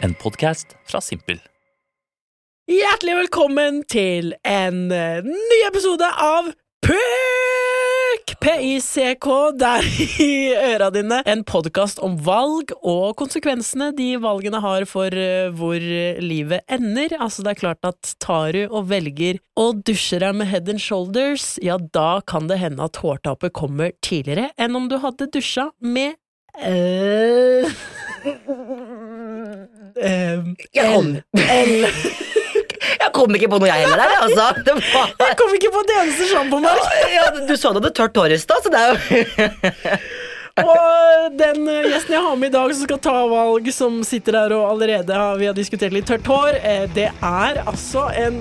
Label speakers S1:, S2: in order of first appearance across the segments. S1: En podkast fra Simpel.
S2: Hjertelig velkommen til en eh, ny episode av PUK! P-I-C-K der i øra dine. En podkast om valg og konsekvensene de valgene har for eh, hvor eh, livet ender. Altså, det er klart at tar du og velger å dusje deg med head and shoulders, ja, da kan det hende at hårtapet kommer tidligere enn om du hadde dusja med eh, eh,
S3: Jeg kom,
S2: L.
S3: jeg kom ikke på noe jeg heller der, jeg, altså. Det var,
S2: Jeg kom ikke på et eneste sjampomerke!
S3: ja, du så du hadde tørt hår i stad, så det er jo
S2: Og den eh, gjesten jeg har med i dag som skal ta valg, som sitter der og allerede har, vi har diskutert litt tørt hår, eh, det er altså en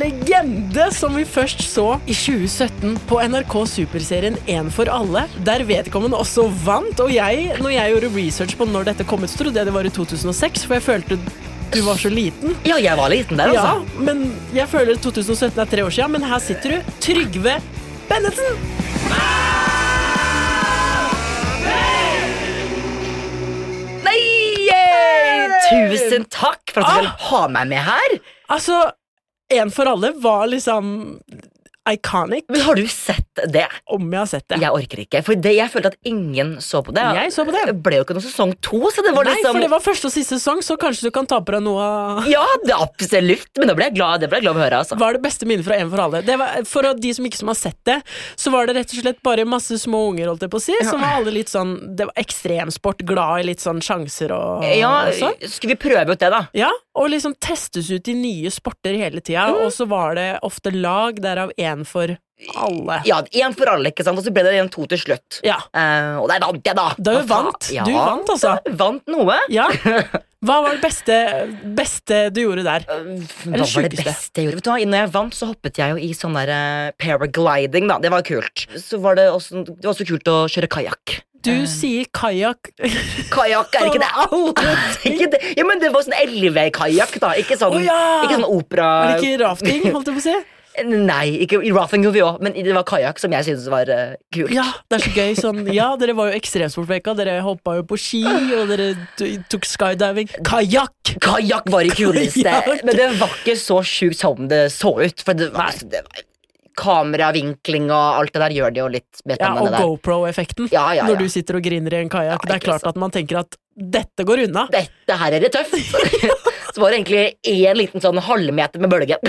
S2: legende som vi først så i 2017 på NRK Superserien En for alle, der vedkommende også vant. Og jeg, når jeg gjorde research på når dette kom ut, så trodde jeg det var i 2006, for jeg følte du var så liten.
S3: Ja, jeg var liten der,
S2: Ja,
S3: altså.
S2: men jeg føler 2017 er tre år siden, men her sitter du, Trygve Bennetsen!
S3: Nei! yay! Tusen takk for
S2: Ah!
S3: at du vil ha meg med her.
S2: Altså, En for alle var liksom iconic,
S3: Men har du sett det?
S2: om jeg har sett det.
S3: Jeg orker ikke, for det, jeg følte at ingen så på det.
S2: Jeg så på det.
S3: Det ble jo ikke noen sesong to, så det var
S2: Nei,
S3: liksom
S2: for det var første og siste sesong, så kanskje du kan ta på deg noe av
S3: Ja, det er absolutt, men da ble jeg glad, det ble jeg glad for å høre, altså.
S2: hva er det beste minnet fra En for alle? Det var, for de som ikke som har sett det, så var det rett og slett bare masse små unger, holdt jeg på å si, som var alle litt sånn Det var ekstremsport, glad i litt sånn sjanser og,
S3: Ja,
S2: og sånn.
S3: Skal vi prøve ut det, da?
S2: Ja, og liksom testes ut i nye sporter hele tida, og så var det ofte lag, derav én for alle.
S3: Ja, Én for alle, ikke sant? og så ble det igjen to til slutt.
S2: Ja.
S3: Eh, og der vant jeg, da!
S2: Da vi vant.
S3: Ja,
S2: Du vant, altså.
S3: Vant noe.
S2: Ja. Hva var det beste, beste du gjorde der?
S3: Ehm, Hva var det
S2: sjukeste?
S3: beste jeg gjorde? Vet du hva? Når jeg vant, så hoppet jeg jo i sånn der eh, paragliding, da. Det var kult. Så var det også, det var også kult å kjøre kajakk.
S2: Du sier kajakk
S3: Kajakk, er
S2: Sånn
S3: ikke det
S2: Alle ting.
S3: ikke det? Ja, men det var sånn elvekajakk, da. Ikke sånn,
S2: Å, ja!
S3: ikke sånn opera... Eh,
S2: Er det ikke rafting, holdt jeg på å si?
S3: Nei, ikke i Rafting gjorde vi òg, men det var kajakk som jeg syntes var eh, kult.
S2: Ja, det er så gøy sånn. Ja, dere var jo ekstremsportveka, dere hoppa jo på ski, og dere t- tok skydiving. Kajakk!
S3: Kajakk var det kuleste,
S2: Kajakk.
S3: men det var ikke så sjukt som det så ut. For det, var- altså, det var kameravinkling og alt det der gjør det jo litt
S2: Ja,
S3: mer
S2: og
S3: spennende. der.
S2: GoPro-effekten.
S3: Ja, ja, ja.
S2: Når du sitter og griner i en kajakk.
S3: Ja,
S2: Det er
S3: ikke
S2: klart at man tenker at dette går unna.
S3: Dette her er det tøft! så var det egentlig én liten sånn halvmeter med bølge.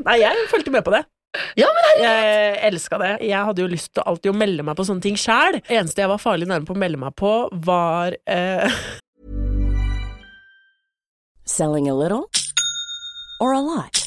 S2: Nei, jeg fulgte med på det.
S3: Ja, men
S2: Jeg elska det. Jeg hadde jo lyst til alltid å melde meg på sånne ting sjæl. Eneste jeg var farlig nærme på å melde meg på, var eh,
S4: Selling a little or a lot?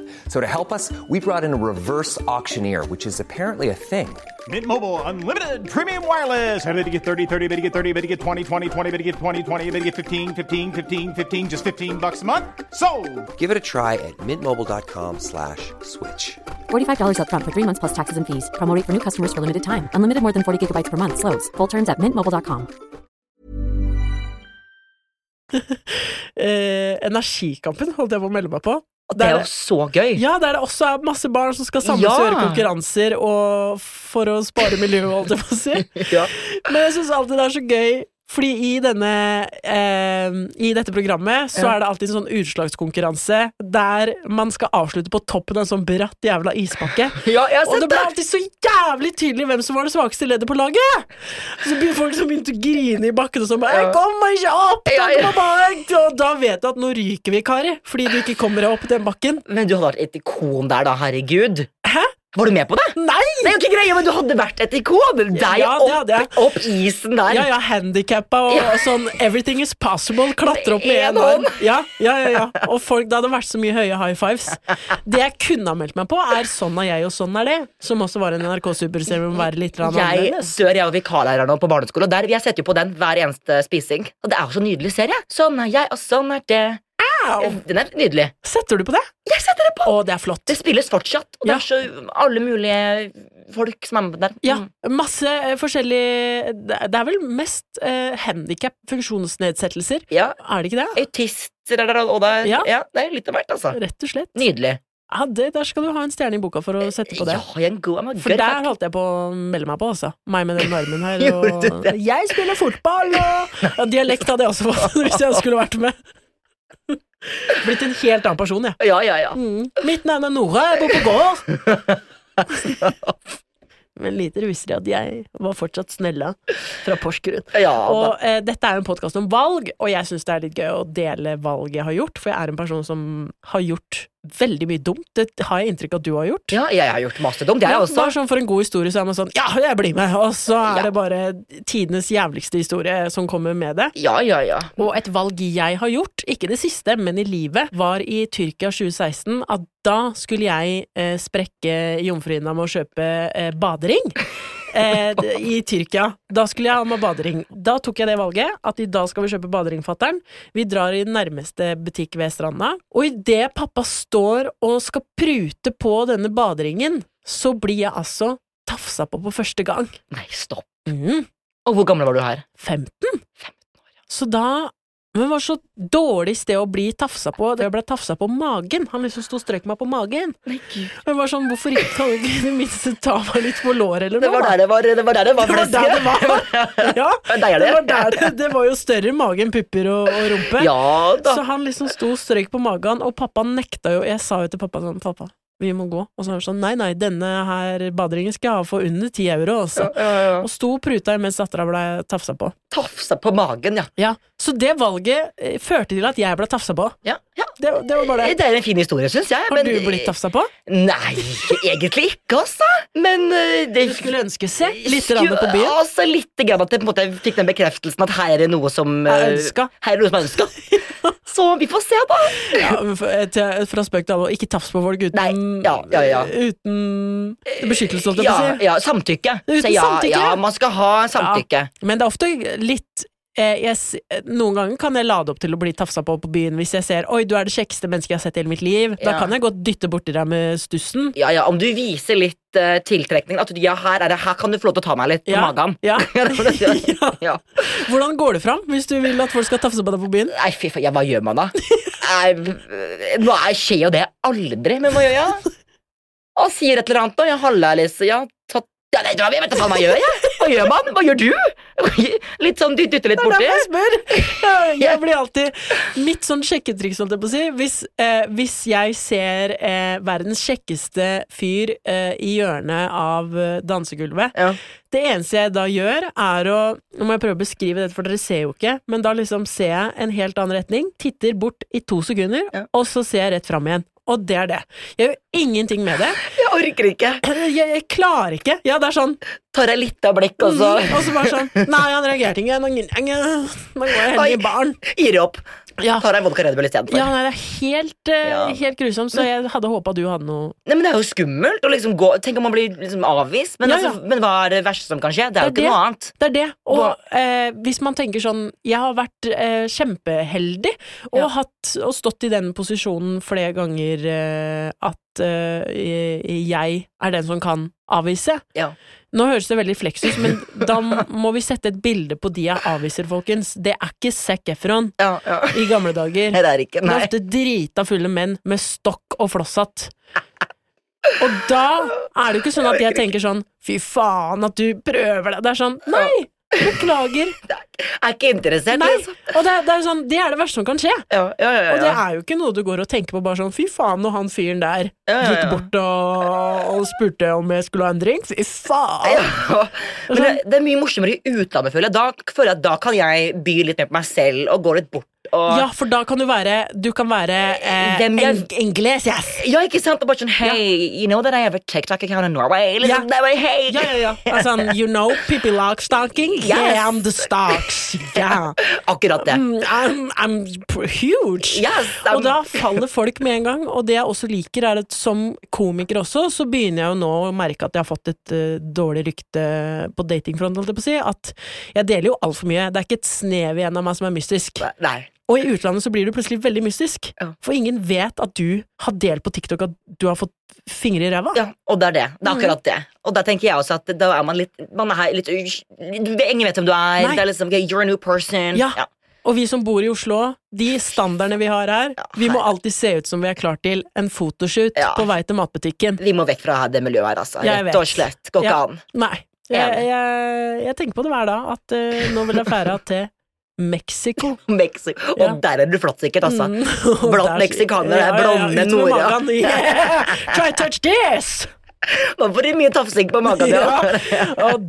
S5: So to help us, we brought in a reverse auctioneer, which is apparently a thing.
S6: Mint Mobile unlimited premium wireless. Ready to get 30, 30, bet you get 30, bet you get 20, 20, 20, bet you get 20, 20, bet you get 15, 15, 15, 15 just 15 bucks a month. Sold.
S5: Give it a try at mintmobile.com slash switch.
S7: $45 upfront for three months plus taxes and fees. Promo rate for new customers for limited time. Unlimited more than 40 gigabytes per month. Slows. Full terms at mintmobile.com.
S2: eh, Energikampen, holdt jeg på å melde meg på.
S3: Det er
S2: Der-
S3: jo så gøy.
S2: Ja, der det også er masse barn som skal samles
S3: Ja.
S2: og gjøre konkurranser og for å spare miljøet, holdt jeg på å si.
S3: Ja.
S2: Men jeg syns alltid det er så gøy, fordi i, denne, eh, i dette programmet så er det alltid en sånn utslagskonkurranse der man skal avslutte på toppen av en sånn bratt jævla isbakke.
S3: Ja, jeg har
S2: Og
S3: sett
S2: det ble
S3: det.
S2: alltid så jævlig tydelig hvem som var det svakeste leddet på laget! Så begynte folk som begynte å grine i bakken og sånn bare, Jeg kommer ikke opp!
S3: Ja,
S2: Jeg
S3: ja.
S2: kommer bare ikke!» Og da vet du at nå ryker vi, Kari, fordi du ikke kommer deg opp den bakken.
S3: Men du hadde vært et ikon der, da. Herregud.
S2: Hæ?
S3: Var du med på det?
S2: Nei!
S3: Det er jo ikke greia, men du hadde vært et ikon! Deg
S2: Mm. Ja, det hadde
S3: opp, opp isen der.
S2: Ja, ja, handikappa og
S3: Ja.
S2: sånn Everything is possible. Klatre opp med
S3: Med
S2: én
S3: en
S2: hånd.
S3: hånd.
S2: Ja, ja, ja, ja. Og folk, det hadde vært så mye høye high fives. Det jeg kunne ha meldt meg på, er Sånn er jeg, og sånn er det. Som også var en NRK-superserie om å være litt grann
S3: Jeg
S2: annerledes.
S3: dør, jeg var vikarlærer nå på barneskole, og der, jeg setter jo på den hver eneste spising. Og det er jo så nydelig serie. Sånn er jeg, og sånn er det. Eh, Den er nydelig.
S2: Setter du på det?
S3: Jeg setter det på!
S2: Å, det er flott.
S3: Det spilles fortsatt, og det
S2: Ja.
S3: er så alle mulige folk som er med der.
S2: Ja,
S3: Mm.
S2: masse eh, forskjellig Det det er vel mest eh, handikap, funksjonsnedsettelser.
S3: ja.
S2: Er det ikke det?
S3: Autister er der, og det er,
S2: Ja.
S3: ja. det er litt av hvert, altså.
S2: Rett og slett.
S3: Nydelig.
S2: Ja, det, der skal du ha en stjerne i boka for å sette på det.
S3: Ja, jeg er en god, I'm a
S2: For
S3: good
S2: der
S3: fuck.
S2: holdt jeg på å melde meg på, altså. Meg med den armen her.
S3: Gjorde du
S2: Og
S3: det?
S2: jeg spiller fotball! Og ja, dialekt hadde jeg også fått, hvis jeg skulle vært med. Blitt en helt annen person, jeg.
S3: Ja, ja, ja.
S2: Mm. Mitt navn er Nora, jeg bor på gård. Men lite visste de at jeg var fortsatt snella fra Porsgrunn.
S3: ja da.
S2: Og eh, dette er jo en podkast om valg, og jeg syns det er litt gøy å dele valg jeg har gjort, for jeg er en person som har gjort veldig mye dumt. Det har jeg inntrykk av at du har gjort.
S3: ja, jeg har gjort masse dumt, jeg
S2: Ja,
S3: også.
S2: bare sånn For en god historie så er man sånn Ja, jeg blir med! Og så er
S3: Ja.
S2: det bare tidenes jævligste historie som kommer med det.
S3: Ja, ja, ja.
S2: Og et valg jeg har gjort, ikke det siste, men i livet, var i Tyrkia 2016 at da skulle jeg eh, sprekke jomfruhinna med å kjøpe eh, badering. Eh, d- I Tyrkia. Da skulle jeg ha med badering. Da tok jeg det valget at i dag skal vi kjøpe badering, fatter'n. Vi drar i den nærmeste butikk ved stranda, og idet pappa står og skal prute på denne baderingen, så blir jeg altså tafsa på på første gang.
S3: Nei, stopp.
S2: Mm.
S3: Og hvor gammel var du her?
S2: 15. Så da Men det var så dårlig sted å bli tafsa på. Jeg ble tafsa på magen. Han liksom sto og strøk meg på magen. Men jeg var sånn, hvorfor ikke kan du ikke i det minste ta meg litt på låret eller
S3: Det
S2: noe?
S3: var der det var, det var, der det var,
S2: Det var
S3: flest.
S2: der det var. Ja,
S3: Det
S2: det
S3: var der det.
S2: var der det Det var jo større mage enn pupper og, og rumpe.
S3: Ja da.
S2: Så han liksom sto og strøyk på magen, og pappa nekta jo. Jeg sa jo til pappa sånn, pappa, vi må gå. Og så var han sånn, nei, nei, denne her baderingen skal jeg ha for under 10 euro, altså.
S3: Ja, ja.
S2: Og sto og pruta mens dattera ble tafsa på.
S3: Tafsa på magen, ja.
S2: Ja, Så det valget eh, førte til at jeg ble tafsa på.
S3: ja, ja.
S2: Det, det var bare det.
S3: Det er en fin historie, syns jeg.
S2: Har
S3: men- eh,
S2: du blitt tafsa på?
S3: Nei, egentlig ikke, altså. Men eh, det
S2: Du skulle ønske seg litt rann på byen.
S3: Altså, litt grann at jeg på en måte fikk den bekreftelsen at her er noe som
S2: Er
S3: eh,
S2: ønska.
S3: Her er noe som er ønska. Så vi får se, da.
S2: Ja, men for- eh, til- Fra spøk til alvor, ikke tafs på folk uten,
S3: Nei, ja, ja, ja.
S2: uten beskyttelse, holdt Sånn jeg
S3: Ja,
S2: på å si.
S3: ja, samtykke.
S2: Uten
S3: Så ja,
S2: samtykke?
S3: ja, man skal ha samtykke.
S2: Men det er ofte litt eh, jeg, s- eh, Noen ganger kan jeg lade opp til å bli tafsa på på byen hvis jeg ser Oi, du er det kjekkeste mennesket jeg har sett i hele mitt liv. Da
S3: Ja.
S2: kan jeg godt dytte borti deg med stussen.
S3: Ja, ja, Om du viser litt eh, tiltrekning At du, ja, her, er det, her kan du få lov til å ta meg litt på
S2: Ja,
S3: magen.
S2: ja.
S3: Ja, det var det jeg sier. ja.
S2: Hvordan går det fram hvis du vil at folk skal tafse på deg på byen?
S3: Nei, fy faen, ja, hva gjør man da? Nei, Nå er- skjer jo det aldri, men hva gjør jeg? Og sier et eller annet, og jeg halla, liksom. Ja, tatt, ja, nei, jeg vet da faen hva jeg gjør, jeg. Hva gjør man? Hva gjør du? Litt sånn, du dytter litt
S2: Det er
S3: borti.
S2: derfor jeg spør! Jeg blir alltid Mitt sånn sjekketriks, holdt jeg på å si Hvis, eh, hvis jeg ser eh, verdens kjekkeste fyr eh, i hjørnet av eh, dansegulvet
S3: Ja.
S2: Det eneste jeg da gjør, er å Nå må jeg prøve å beskrive dette, for dere ser jo ikke, men da liksom ser jeg en helt annen retning, titter bort i to sekunder,
S3: Ja.
S2: og så ser jeg rett fram igjen. Og det er det. Jeg gjør ingenting med det.
S3: Jeg orker ikke.
S2: Jeg, jeg klarer ikke. Ja, det er sånn
S3: Tar jeg litt av blikk, og så
S2: mm, Og så bare sånn Nei, han reagerte ikke. Nå nå går jeg heller
S3: Oi.
S2: i baren.
S3: gir jeg opp.
S2: Ja.
S3: Tar jeg vodka Red Bull istedenfor.
S2: Ja, nei, det er helt, eh,
S3: Ja.
S2: helt grusomt, så jeg hadde håpa du hadde noe
S3: Nei, men det er jo skummelt å liksom gå Tenk om man blir liksom avvist. Men,
S2: Ja,
S3: altså, men hva er det verste som kan skje? Det er
S2: Det
S3: jo
S2: er
S3: ikke noe annet.
S2: Det er det.
S3: Hva-
S2: Og eh, hvis man tenker sånn Jeg har vært eh, kjempeheldig og,
S3: Ja.
S2: hatt, og stått i den posisjonen flere ganger eh, at eh, jeg er den som kan avvise.
S3: Ja.
S2: Nå høres det veldig fleks ut, men da må vi sette et bilde på de jeg avviser, folkens. Det er ikke Zac Efron
S3: Ja, ja.
S2: i gamle dager.
S3: Nei, det er ikke.
S2: Det er
S3: Nei.
S2: ofte drita fulle menn med stokk og flosshatt. Og da er det jo ikke sånn at jeg tenker sånn Fy faen at du prøver deg. Det er sånn Nei! Beklager.
S3: Er ikke interessert,
S2: Nei!
S3: liksom.
S2: Og det er, det er sånn Det er det verste som kan skje.
S3: Ja, ja, ja, ja.
S2: Og det er jo ikke noe du går og tenker på bare sånn Fy faen, når han fyren der
S3: Ja, ja,
S2: gikk
S3: ja.
S2: bort og, og spurte om jeg skulle ha en drink. Fy faen!
S3: Ja.
S2: sånn-
S3: Men det, det er mye morsommere i utlandet, føler jeg. Da føler jeg at da kan jeg by litt mer på meg selv og gå litt bort og
S2: Ja, for da kan du være Du kan være eh,
S3: Hvem jeg-
S2: eng- Inglesias.
S3: Ja, ikke sant? Og bare sånn Hey, you know that I have a TikTok account in Norway? Liksom,
S2: Ja.
S3: that way, hey.
S2: Ja, ja, ja. Altså, you know Pippi Longstocking?
S3: Yes.
S2: Yeah, I'm the stocks. Yeah.
S3: Akkurat det.
S2: Mm, I'm, I'm p- huge.
S3: Yes, I'm-
S2: Og da faller folk med en gang. Og det jeg også liker, er at som komiker også, så begynner jeg jo nå å merke at jeg har fått et eh, dårlig rykte på datingfront, holdt jeg på å si. At jeg deler jo altfor mye. Det er ikke et snev igjen av meg som er mystisk.
S3: Nei.
S2: Og i utlandet så blir du plutselig veldig mystisk.
S3: Ja.
S2: For ingen vet at du har delt på TikTok at du har fått fingre i ræva.
S3: Ja, og det er det. Det er
S2: Mm.
S3: akkurat det. Og da tenker jeg også at da er man litt Man er litt Ingen vet hvem du er.
S2: Nei.
S3: Det er liksom okay, You're a new person.
S2: Ja. Og vi som bor i Oslo, de standardene vi har her Vi må alltid se ut som vi er klar til en fotoshoot
S3: Ja.
S2: på vei til matbutikken.
S3: Vi må vekk fra det miljøet her, altså.
S2: Jeg
S3: Rett og
S2: vet.
S3: slett. Går ikke
S2: Ja.
S3: an.
S2: Nei. Jeg,
S3: Enig.
S2: jeg, jeg tenker på det hver dag, at eh, nå vil jeg fære til Mexico.
S3: Mexico. Og
S2: Ja.
S3: der er du flott, sikkert, altså.
S2: Mm.
S3: Blond
S2: Der-
S3: meksikaner, det er blonde
S2: ut med
S3: Nora.
S2: magen. Yeah. Try touch this!
S3: Man får mye tafsing på magen.
S2: Ja.
S3: Ja.
S2: Og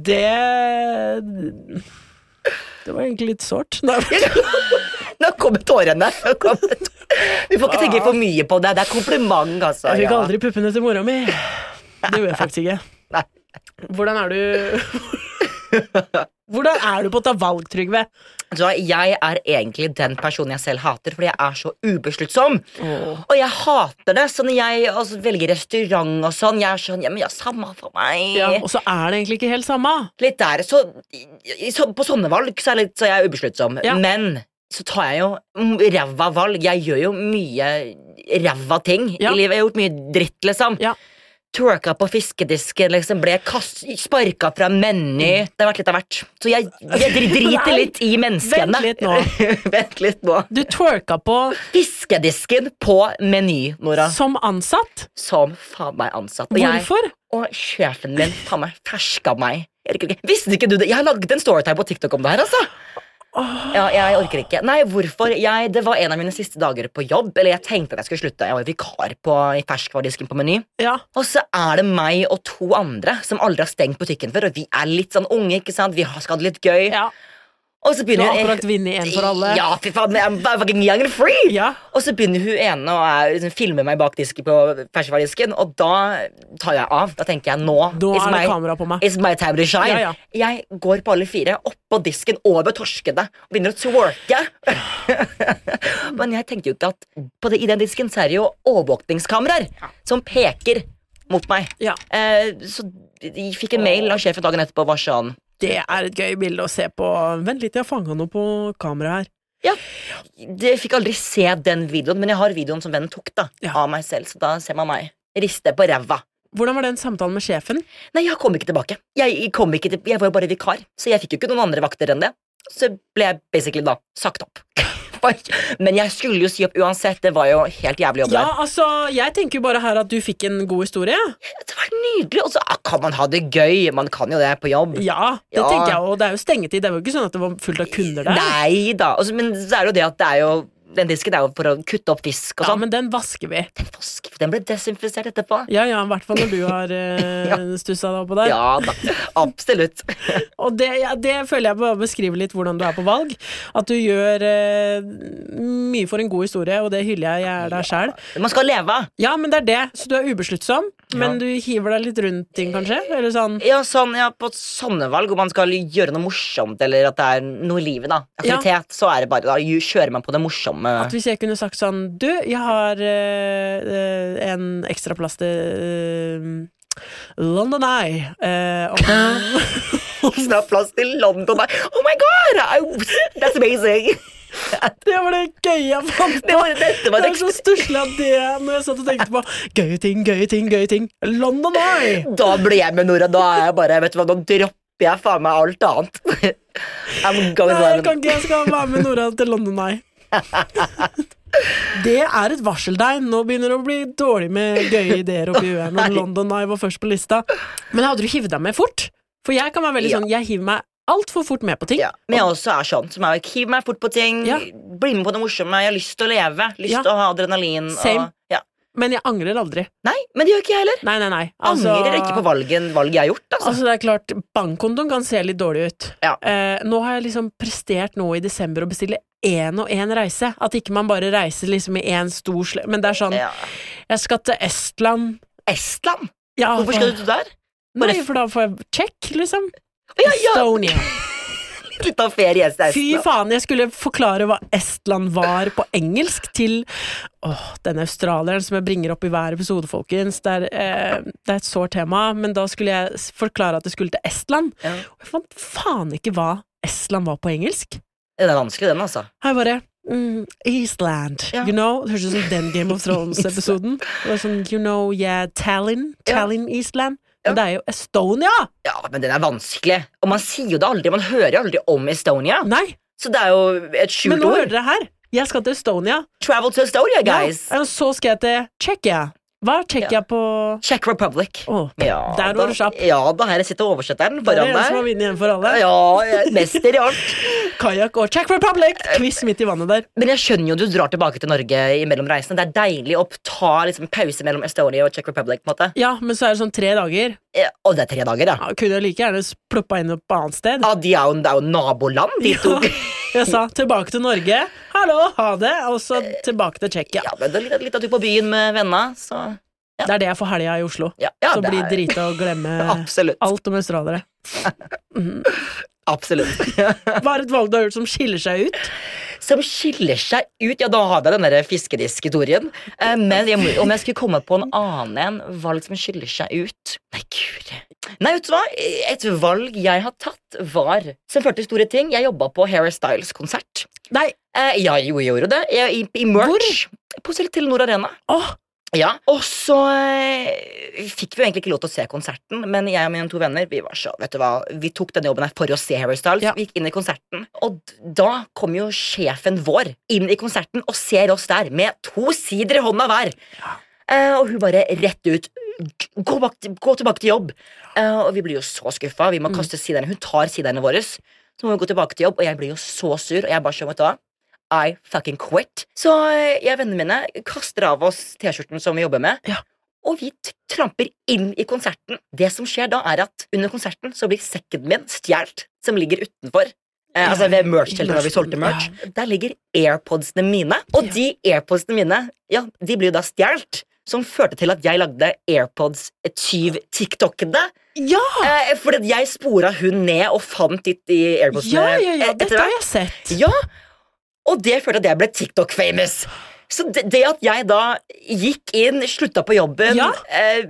S2: det Det var egentlig litt sårt. Nei,
S3: Nå kommer tårene. Nå kommer tå- Vi får ikke tenke for mye på det. Det er kompliment, altså.
S2: jeg fikk
S3: ja.
S2: aldri puppene til mora mi. Det gjorde jeg faktisk ikke.
S3: Nei.
S2: Hvordan er du Hvordan er du på å ta valg, Trygve?
S3: Vet du hva, Jeg er egentlig den personen jeg selv hater, fordi jeg er så ubesluttsom. Og jeg hater det. Så når jeg altså, velger restaurant og sånn, jeg er sånn Ja, men ja, samme for meg.
S2: Ja, og så er det egentlig ikke helt samme.
S3: Litt der, så, i- i- så På sånne valg så er, jeg litt, så er jeg ubesluttsom.
S2: Ja.
S3: Men så tar jeg jo mm, ræva valg. Jeg gjør jo mye ræva ting
S2: Ja.
S3: i livet. Jeg har gjort mye dritt, liksom.
S2: Ja.
S3: Twerka på fiskedisken, liksom. Ble kast, sparka fra meny. Det har vært litt av hvert. Så jeg, jeg dri- driter
S2: Mm. Nei,
S3: litt i menneskene.
S2: vent litt nå.
S3: Vent litt nå.
S2: Du twerka på
S3: Fiskedisken på Meny, Nora.
S2: som ansatt.
S3: Som faen meg ansatt. Og jeg-
S2: Hvorfor?
S3: og sjefen min faen meg ferska meg. Jeg orker ikke. Visste ikke du det? Jeg har laget en storytime på TikTok om det her, altså. Ja, jeg orker ikke. Nei, hvorfor? Jeg, det var en av mine siste dager på jobb. Eller jeg tenkte at jeg skulle slutte. Jeg var vikar på, i ferskvaredisken på Meny.
S2: Ja.
S3: Og så er det meg og to andre som aldri har stengt butikken før. Og vi er litt sånn unge, ikke sant? Vi har- skal ha det litt gøy.
S2: ja.
S3: Og
S2: Du
S3: så begynner
S2: har
S3: jeg-
S2: akkurat vunnet en for alle.
S3: Ja, fy faen, I'm fucking young and free!
S2: Ja.
S3: Og så begynner hun ene å liksom, filme meg bak disken på ferskvaredisken, og da tar jeg av. Da tenker jeg nå
S2: Da
S3: it's
S2: er det
S3: my-
S2: kamera på meg.
S3: It's my time to shine.
S2: Ja, ja.
S3: Jeg går på alle fire, oppå disken, over torskene, og begynner å twerke. Men jeg tenkte jo ikke at på det, i den disken så er det jo overvåkningskameraer som peker mot meg.
S2: Ja.
S3: Eh, så jeg fikk en mail av sjefen dagen etterpå og var sånn
S2: Det er et gøy bilde å se på. Vent litt, jeg har fanga noe på kameraet her.
S3: Ja, jeg fikk aldri se den videoen, men jeg har videoen som vennen tok da,
S2: Ja.
S3: av meg selv, så da ser man meg riste på ræva.
S2: Hvordan var den samtalen med sjefen?
S3: Nei, jeg kom ikke tilbake. Jeg, kom ikke til, jeg var jo bare vikar, så jeg fikk jo ikke noen andre vakter enn det. Så ble jeg basically da sagt opp. Bare- men jeg skulle jo si opp uansett, det var jo helt jævlig jobb
S2: Ja,
S3: der.
S2: altså, jeg tenker jo bare her at du fikk en god historie.
S3: Det var nydelig, og så ah, kan man ha det gøy, man kan jo det på jobb.
S2: Ja, det
S3: Ja.
S2: tenker jeg og Det er jo stengetid. Det var jo ikke sånn at det var fullt av kunder der.
S3: Nei da, altså, men så er det jo det at det er jo, den disken er jo for å kutte opp fisk og
S2: Ja,
S3: sånn.
S2: men den vasker vi.
S3: Den, vask- den ble desinfisert etterpå.
S2: Ja ja, i hvert fall når du har uh, stussa deg oppå der.
S3: Ja da, absolutt.
S2: Og det, ja, det føler jeg bare beskriver litt hvordan du er på valg. At du gjør eh, mye for en god historie, og det hyller jeg. Jeg er der sjæl.
S3: Man skal leve.
S2: Ja, men det er det. Så du er ubesluttsom, men du hiver deg litt rundt ting, kanskje? Eller sånn
S3: Ja, sånn, ja, på sånne valg hvor man skal gjøre noe morsomt, eller at det er noe i livet, da. Aktivitet. Så er det bare, da ju- kjører man på det morsomme.
S2: at hvis jeg kunne sagt sånn Du, jeg har eh, eh, en ekstra plass til eh, London Eye. eh, om,
S3: Som har plass til London. da. Oh my god! I- That's amazing!
S2: det var det gøye jeg fant
S3: Det
S2: på!
S3: var, dette var
S2: Det
S3: det
S2: er så stusslig at det Når jeg satt og tenkte på gøye ting, gøye ting, gøye ting London Eye!
S3: Da ble jeg med Nora. Da er jeg bare, vet du hva, nå dropper jeg faen meg alt annet. I'm going
S2: Nei, jeg kan
S3: London.
S2: ikke. Jeg skal være med Nora til London Eye. Det er et varseltegn. Nå begynner det å bli dårlig med gøye ideer oppi huet her når London Eye var først på lista. Men hadde du hivd deg med fort? For jeg kan være veldig
S3: Ja.
S2: sånn Jeg hiver meg altfor fort med på ting.
S3: Ja. Men jeg også er sånn som er hiv meg fort på ting,
S2: Ja.
S3: bli med på det morsomme. Jeg har lyst til å leve. Lyst
S2: Ja.
S3: til å ha adrenalin.
S2: Same.
S3: Og, ja.
S2: Men jeg angrer aldri.
S3: Nei, men det gjør ikke jeg heller.
S2: Nei, nei, nei.
S3: Angrer ikke på valgen, valget jeg har gjort. Altså.
S2: Altså, det er klart, bankkontoen kan se litt dårlig ut.
S3: Ja.
S2: Eh, nå har jeg liksom prestert nå i desember å bestille én og én reise. At ikke man bare reiser liksom i én stor sle... Men det er sånn,
S3: Ja.
S2: jeg skal til Estland
S3: Estland?
S2: ja,
S3: Hvorfor skal du der?
S2: Nei, for da får jeg check, liksom.
S3: Ja, ja,
S2: Estonia.
S3: litt av ferie i
S2: Fy
S3: Estland.
S2: faen, jeg skulle forklare hva Estland var på engelsk til åh, denne australieren som jeg bringer opp i hver episode, folkens. Det er, eh, det er et sårt tema, men da skulle jeg s- forklare at jeg skulle til Estland.
S3: Ja.
S2: Og jeg fant faen ikke hva Estland var på engelsk.
S3: Den er vanskelig, den, altså.
S2: Her bare mm, Eastland,
S3: Ja.
S2: you know? Det høres ut som den Game of Thrones-episoden. Det var sånn, you know, yeah, Tallinn,
S3: Ja.
S2: Tallinn, Eastland.
S3: Ja.
S2: Men det er jo Estonia!
S3: Ja, men den er vanskelig. Og man sier jo det aldri. Man hører jo aldri om Estonia.
S2: Nei,
S3: Så det er jo et
S2: men
S3: skjult
S2: nå
S3: ord.
S2: hører dere her. Jeg skal til Estonia.
S3: Travel to Estonia, guys.
S2: Ja, og så skal jeg til Tsjekkia. Hva er Tsjekkia på
S3: Czech Republic.
S2: Å,
S3: Ja,
S2: Der var du kjapp.
S3: Ja da, her sitter oversetteren
S2: Det er en
S3: foran
S2: som har
S3: deg.
S2: vunnet igjen for alle.
S3: Ja, jeg er mester i alt.
S2: Kajakk og Czech Republic!
S3: Eh,
S2: Quiz midt i vannet der.
S3: Men jeg skjønner jo du drar tilbake til Norge i mellom reisene. Det er deilig å ta liksom, pause mellom Estonia og Czech Republic. på en måte.
S2: Ja, men så er det sånn tre dager.
S3: Ja, Og det er tre dager, ja.
S2: Ja, kunne jeg like gjerne s- ploppa inn et annet sted.
S3: ja de er jo, det er jo naboland, de to.
S2: Jeg sa tilbake til Norge, hallo, ha det, og så tilbake til Tsjekkia.
S3: Ja, men det er litt, litt at du er på byen med venna, så
S2: Det er det jeg får helga i Oslo.
S3: ja, ja,
S2: Så
S3: det
S2: blir
S3: er-
S2: drita og glemme
S3: Absolutt.
S2: alt om australiere.
S3: Absolutt.
S2: Hva er et valg du har gjort som skiller seg ut?
S3: Som skiller seg ut Ja, da har jeg den der fiskedisk-historien. Eh, Men jeg, må- om jeg skulle komme på en annen en valg som skiller seg ut Nei, guri. Nei, vet du hva? Et valg jeg har tatt, var Som førte til store ting. Jeg jobba på Harry Styles-konsert.
S2: Nei,
S3: Eh, Ja, jo, jeg gjorde det. Jeg, I, i merch. På Telenor Arena.
S2: åh,
S3: Ja, Og så eh, fikk vi jo egentlig ikke lov til å se konserten, men jeg og mine to venner vi var så, vet du hva, vi tok denne jobben her for å se Harry Styles.
S2: Ja.
S3: Vi gikk inn i konserten, og d- da kom jo sjefen vår inn i konserten og ser oss der med to sider i hånda hver. Eh, og hun bare rett ut «G- Gå, bak, gå tilbake til jobb! Eh, og vi blir jo så skuffa. Vi må kaste siderne. Hun tar siderne våre. Så må vi gå tilbake til jobb, og jeg blir jo så sur. Og jeg bare sånn, vet du hva? I fucking quit. Så eh, jeg og vennene mine kaster av oss T-skjorten som vi jobber med.
S2: Ja.
S3: Og vi t- tramper inn i konserten. Det som skjer da, er at under konserten så blir sekken min stjålet, som ligger utenfor. Eh, altså ved merch-teltet hvor vi solgte merch. Der ligger airpodsene mine. Og de airpodsene mine ja, de blir jo da stjålet. Som førte til at jeg lagde airpods-tyv-tiktokene.
S2: ja!
S3: Eh, fordi at jeg spora hun ned og fant de de airpodsene
S2: Ja, ja, ja,
S3: et-
S2: dette
S3: Eh, etter
S2: har
S3: hvert.
S2: jeg sett.
S3: Ja, og det førte at jeg ble TikTok-famous. Så det, det at jeg da gikk inn, slutta på jobben,
S2: Ja.
S3: eh,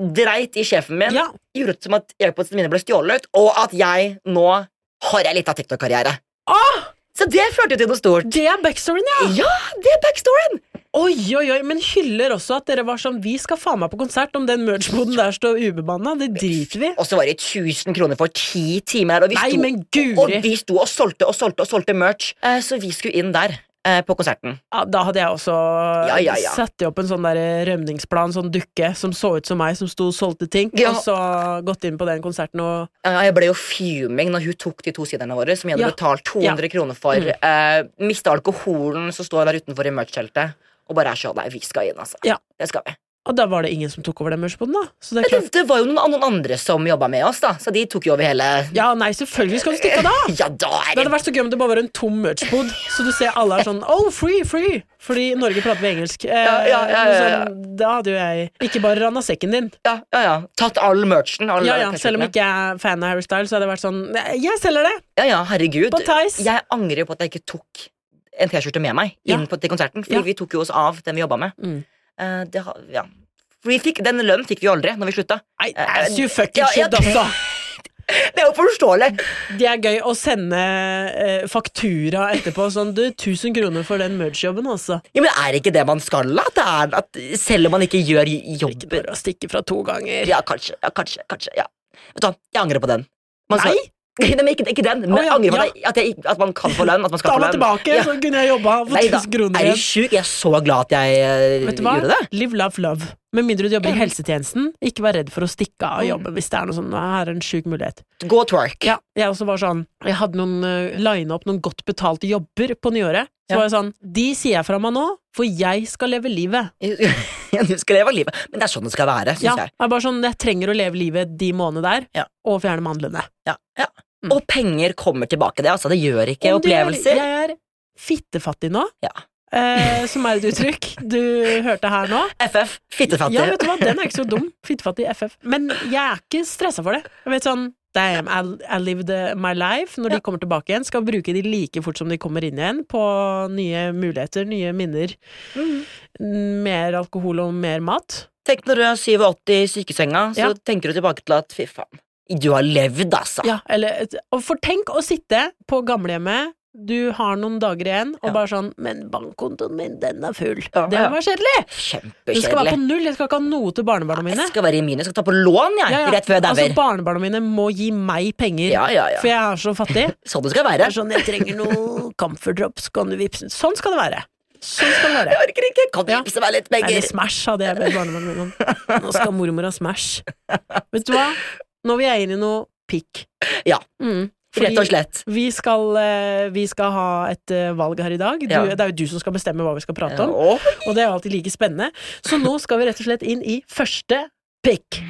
S3: dreit i sjefen min,
S2: Ja.
S3: gjorde det som at airpodsene mine ble stjålet, og at jeg nå har jeg litt av TikTok-karriere.
S2: Åh,
S3: Så det førte jo til noe stort.
S2: Ah, det er backstoryen, ja!
S3: Ja, det er backstoryen!
S2: Oi, oi, oi, men hyller også at dere var sånn Vi skal faen meg på konsert om den merch-boden der står ubemanna. Det driter vi.
S3: Og så var det 1000 kroner for ti timer. her, Og vi,
S2: Nei,
S3: sto,
S2: men guri.
S3: og vi sto og solgte og solgte og solgte merch, eh, så vi skulle inn der eh, på konserten.
S2: Ja, da hadde jeg også
S3: Ja, ja, ja.
S2: satt opp en sånn der rømningsplan, sånn dukke som så ut som meg, som sto og solgte ting,
S3: Ja.
S2: og så gått inn på den konserten og
S3: Ja, Jeg ble jo fuming når hun tok de to siderne våre, som jeg hadde
S2: Ja.
S3: betalt 200 kroner for. Mm. Mista alkoholen, så står jeg der utenfor i merch-teltet og bare er sånn Nei, vi skal inn, altså.
S2: Ja.
S3: Det skal vi.
S2: Og da var det ingen som tok over den merch-boden, da. Så det er
S3: Det,
S2: klart
S3: det var jo noen, noen andre som jobba med oss, da, så de tok jo over hele
S2: Ja, nei, selvfølgelig skal du stikke av da!
S3: Ja, da er
S2: Det
S3: det
S2: hadde vært så gøy om det bare var en tom merch-bod, så du ser alle er sånn Oh, free, free! Fordi i Norge prater vi engelsk. Eh,
S3: Ja, ja, ja, ja, ja.
S2: Sånn, da hadde jo jeg ikke bare ranna sekken din.
S3: ja, ja, ja. Tatt all merchen. All
S2: Ja, ja,
S3: T-skjortene.
S2: Selv om ikke jeg er fan av Harry Styles, så hadde det vært sånn "Nei, Jeg selger det!
S3: Ja, ja, herregud.
S2: På Theis.
S3: Jeg angrer jo på at jeg ikke tok en T-skjorte med meg
S2: Ja.
S3: inn på, til konserten, fordi
S2: Ja.
S3: vi tok jo oss av den vi jobba med.
S2: Mm.
S3: Eh, det, har- ja. For vi fikk, den lønnen fikk vi jo aldri når vi slutta.
S2: Nei,
S3: Eh,
S2: as you fucking
S3: ja, ja,
S2: should, altså!
S3: Det er jo forståelig!
S2: Det er gøy å sende eh, faktura etterpå. Sånn, du, 1000 kroner for den merch-jobben, altså.
S3: Ja, men Er det ikke det man skal? da? At, det er, at selv om man ikke gjør
S2: Ikke
S3: jobben
S2: bare å stikke fra to ganger.
S3: Ja, kanskje, ja, kanskje, kanskje ja. Vet du hva, jeg angrer på den. Man
S2: Nei!
S3: Nei, men ikke, ikke den, men
S2: Å, ja,
S3: jeg angrer på
S2: ja.
S3: at jeg- at, jeg, at man kan få lønn. At man skal
S2: Ta
S3: få
S2: meg
S3: lønn.
S2: tilbake,
S3: Ja.
S2: så kunne jeg jobba for
S3: Nei da,
S2: 1000 kroner
S3: er du
S2: igjen.
S3: sjuk? Jeg er så glad at jeg eh,
S2: Vet du hva?
S3: gjorde det.
S2: Live, love, love. Med mindre du jobber i helsetjenesten, ikke vær redd for å stikke av jobben hvis det er noe sånn, "Nå, her er en sjuk mulighet.
S3: Gå og twerk.
S2: Ja, jeg også var sånn Jeg hadde noen uh, line opp noen godt betalte jobber på nyåret. Så
S3: Ja.
S2: var jeg sånn De sier jeg fra meg nå, for jeg skal leve livet.
S3: Ja, du skal leve av livet. Men det er sånn det skal være, syns
S2: Ja,
S3: jeg.
S2: det er bare sånn, Jeg trenger å leve livet de månedene der,
S3: Ja.
S2: og fjerne mandlene.
S3: Ja, ja. Og penger kommer tilbake. Det, altså, det gjør ikke
S2: Mm. Om du gjør-
S3: opplevelser.
S2: Jeg er fittefattig nå,
S3: Ja.
S2: eh, som er et uttrykk du hørte her nå.
S3: FF, fittefattig.
S2: Ja, vet du hva, den er ikke så dum. Fittefattig FF. Men jeg er ikke stressa for det. Jeg vet sånn Damn, I, I lived eh, my life. Når de kommer tilbake igjen, skal bruke de like fort som de kommer inn igjen, på nye muligheter, nye minner. Mm. N- Mer alkohol og mer mat.
S3: Tenk når du er 87 i sykesenga, så
S2: Ja.
S3: tenker du tilbake til at fy faen, du har levd, altså.
S2: Ja, eller, og for tenk å sitte på gamlehjemmet, du har noen dager igjen, og
S3: Ja.
S2: bare sånn Men bankkontoen min, den er full.
S3: Ja,
S2: det
S3: ja.
S2: var kjedelig! Du skal være
S3: Kjempekjedelig.
S2: på null, jeg skal ikke ha noe til barnebarna mine.
S3: Jeg skal være i minus, jeg skal ta på lån, jeg,
S2: Ja, ja.
S3: rett før jeg
S2: Altså,
S3: dauer.
S2: barnebarna mine må gi meg penger,
S3: Ja, ja, ja.
S2: for jeg er så fattig.
S3: Sånn det skal
S2: Det
S3: være.
S2: er sånn, jeg trenger noe camphor drops, kan du vippse Sånn skal det være. Sånn skal det
S3: Jeg
S2: være.
S3: orker ikke, kan du
S2: Ja.
S3: gipse meg litt
S2: Eller
S3: penger?
S2: Smash hadde jeg bedt barnebarna mine om. Nå skal mormor ha Smash. Vet du hva? Nå vil jeg inn i noe pikk.
S3: Ja.
S2: Mm.
S3: Rett og slett.
S2: Vi skal, eh, vi skal ha et eh, valg her i dag. Du,
S3: Ja.
S2: Det er jo du som skal bestemme hva vi skal prate om,
S3: Åh.
S2: og det er jo alltid like spennende. Så nå skal vi rett og slett inn i første pikk.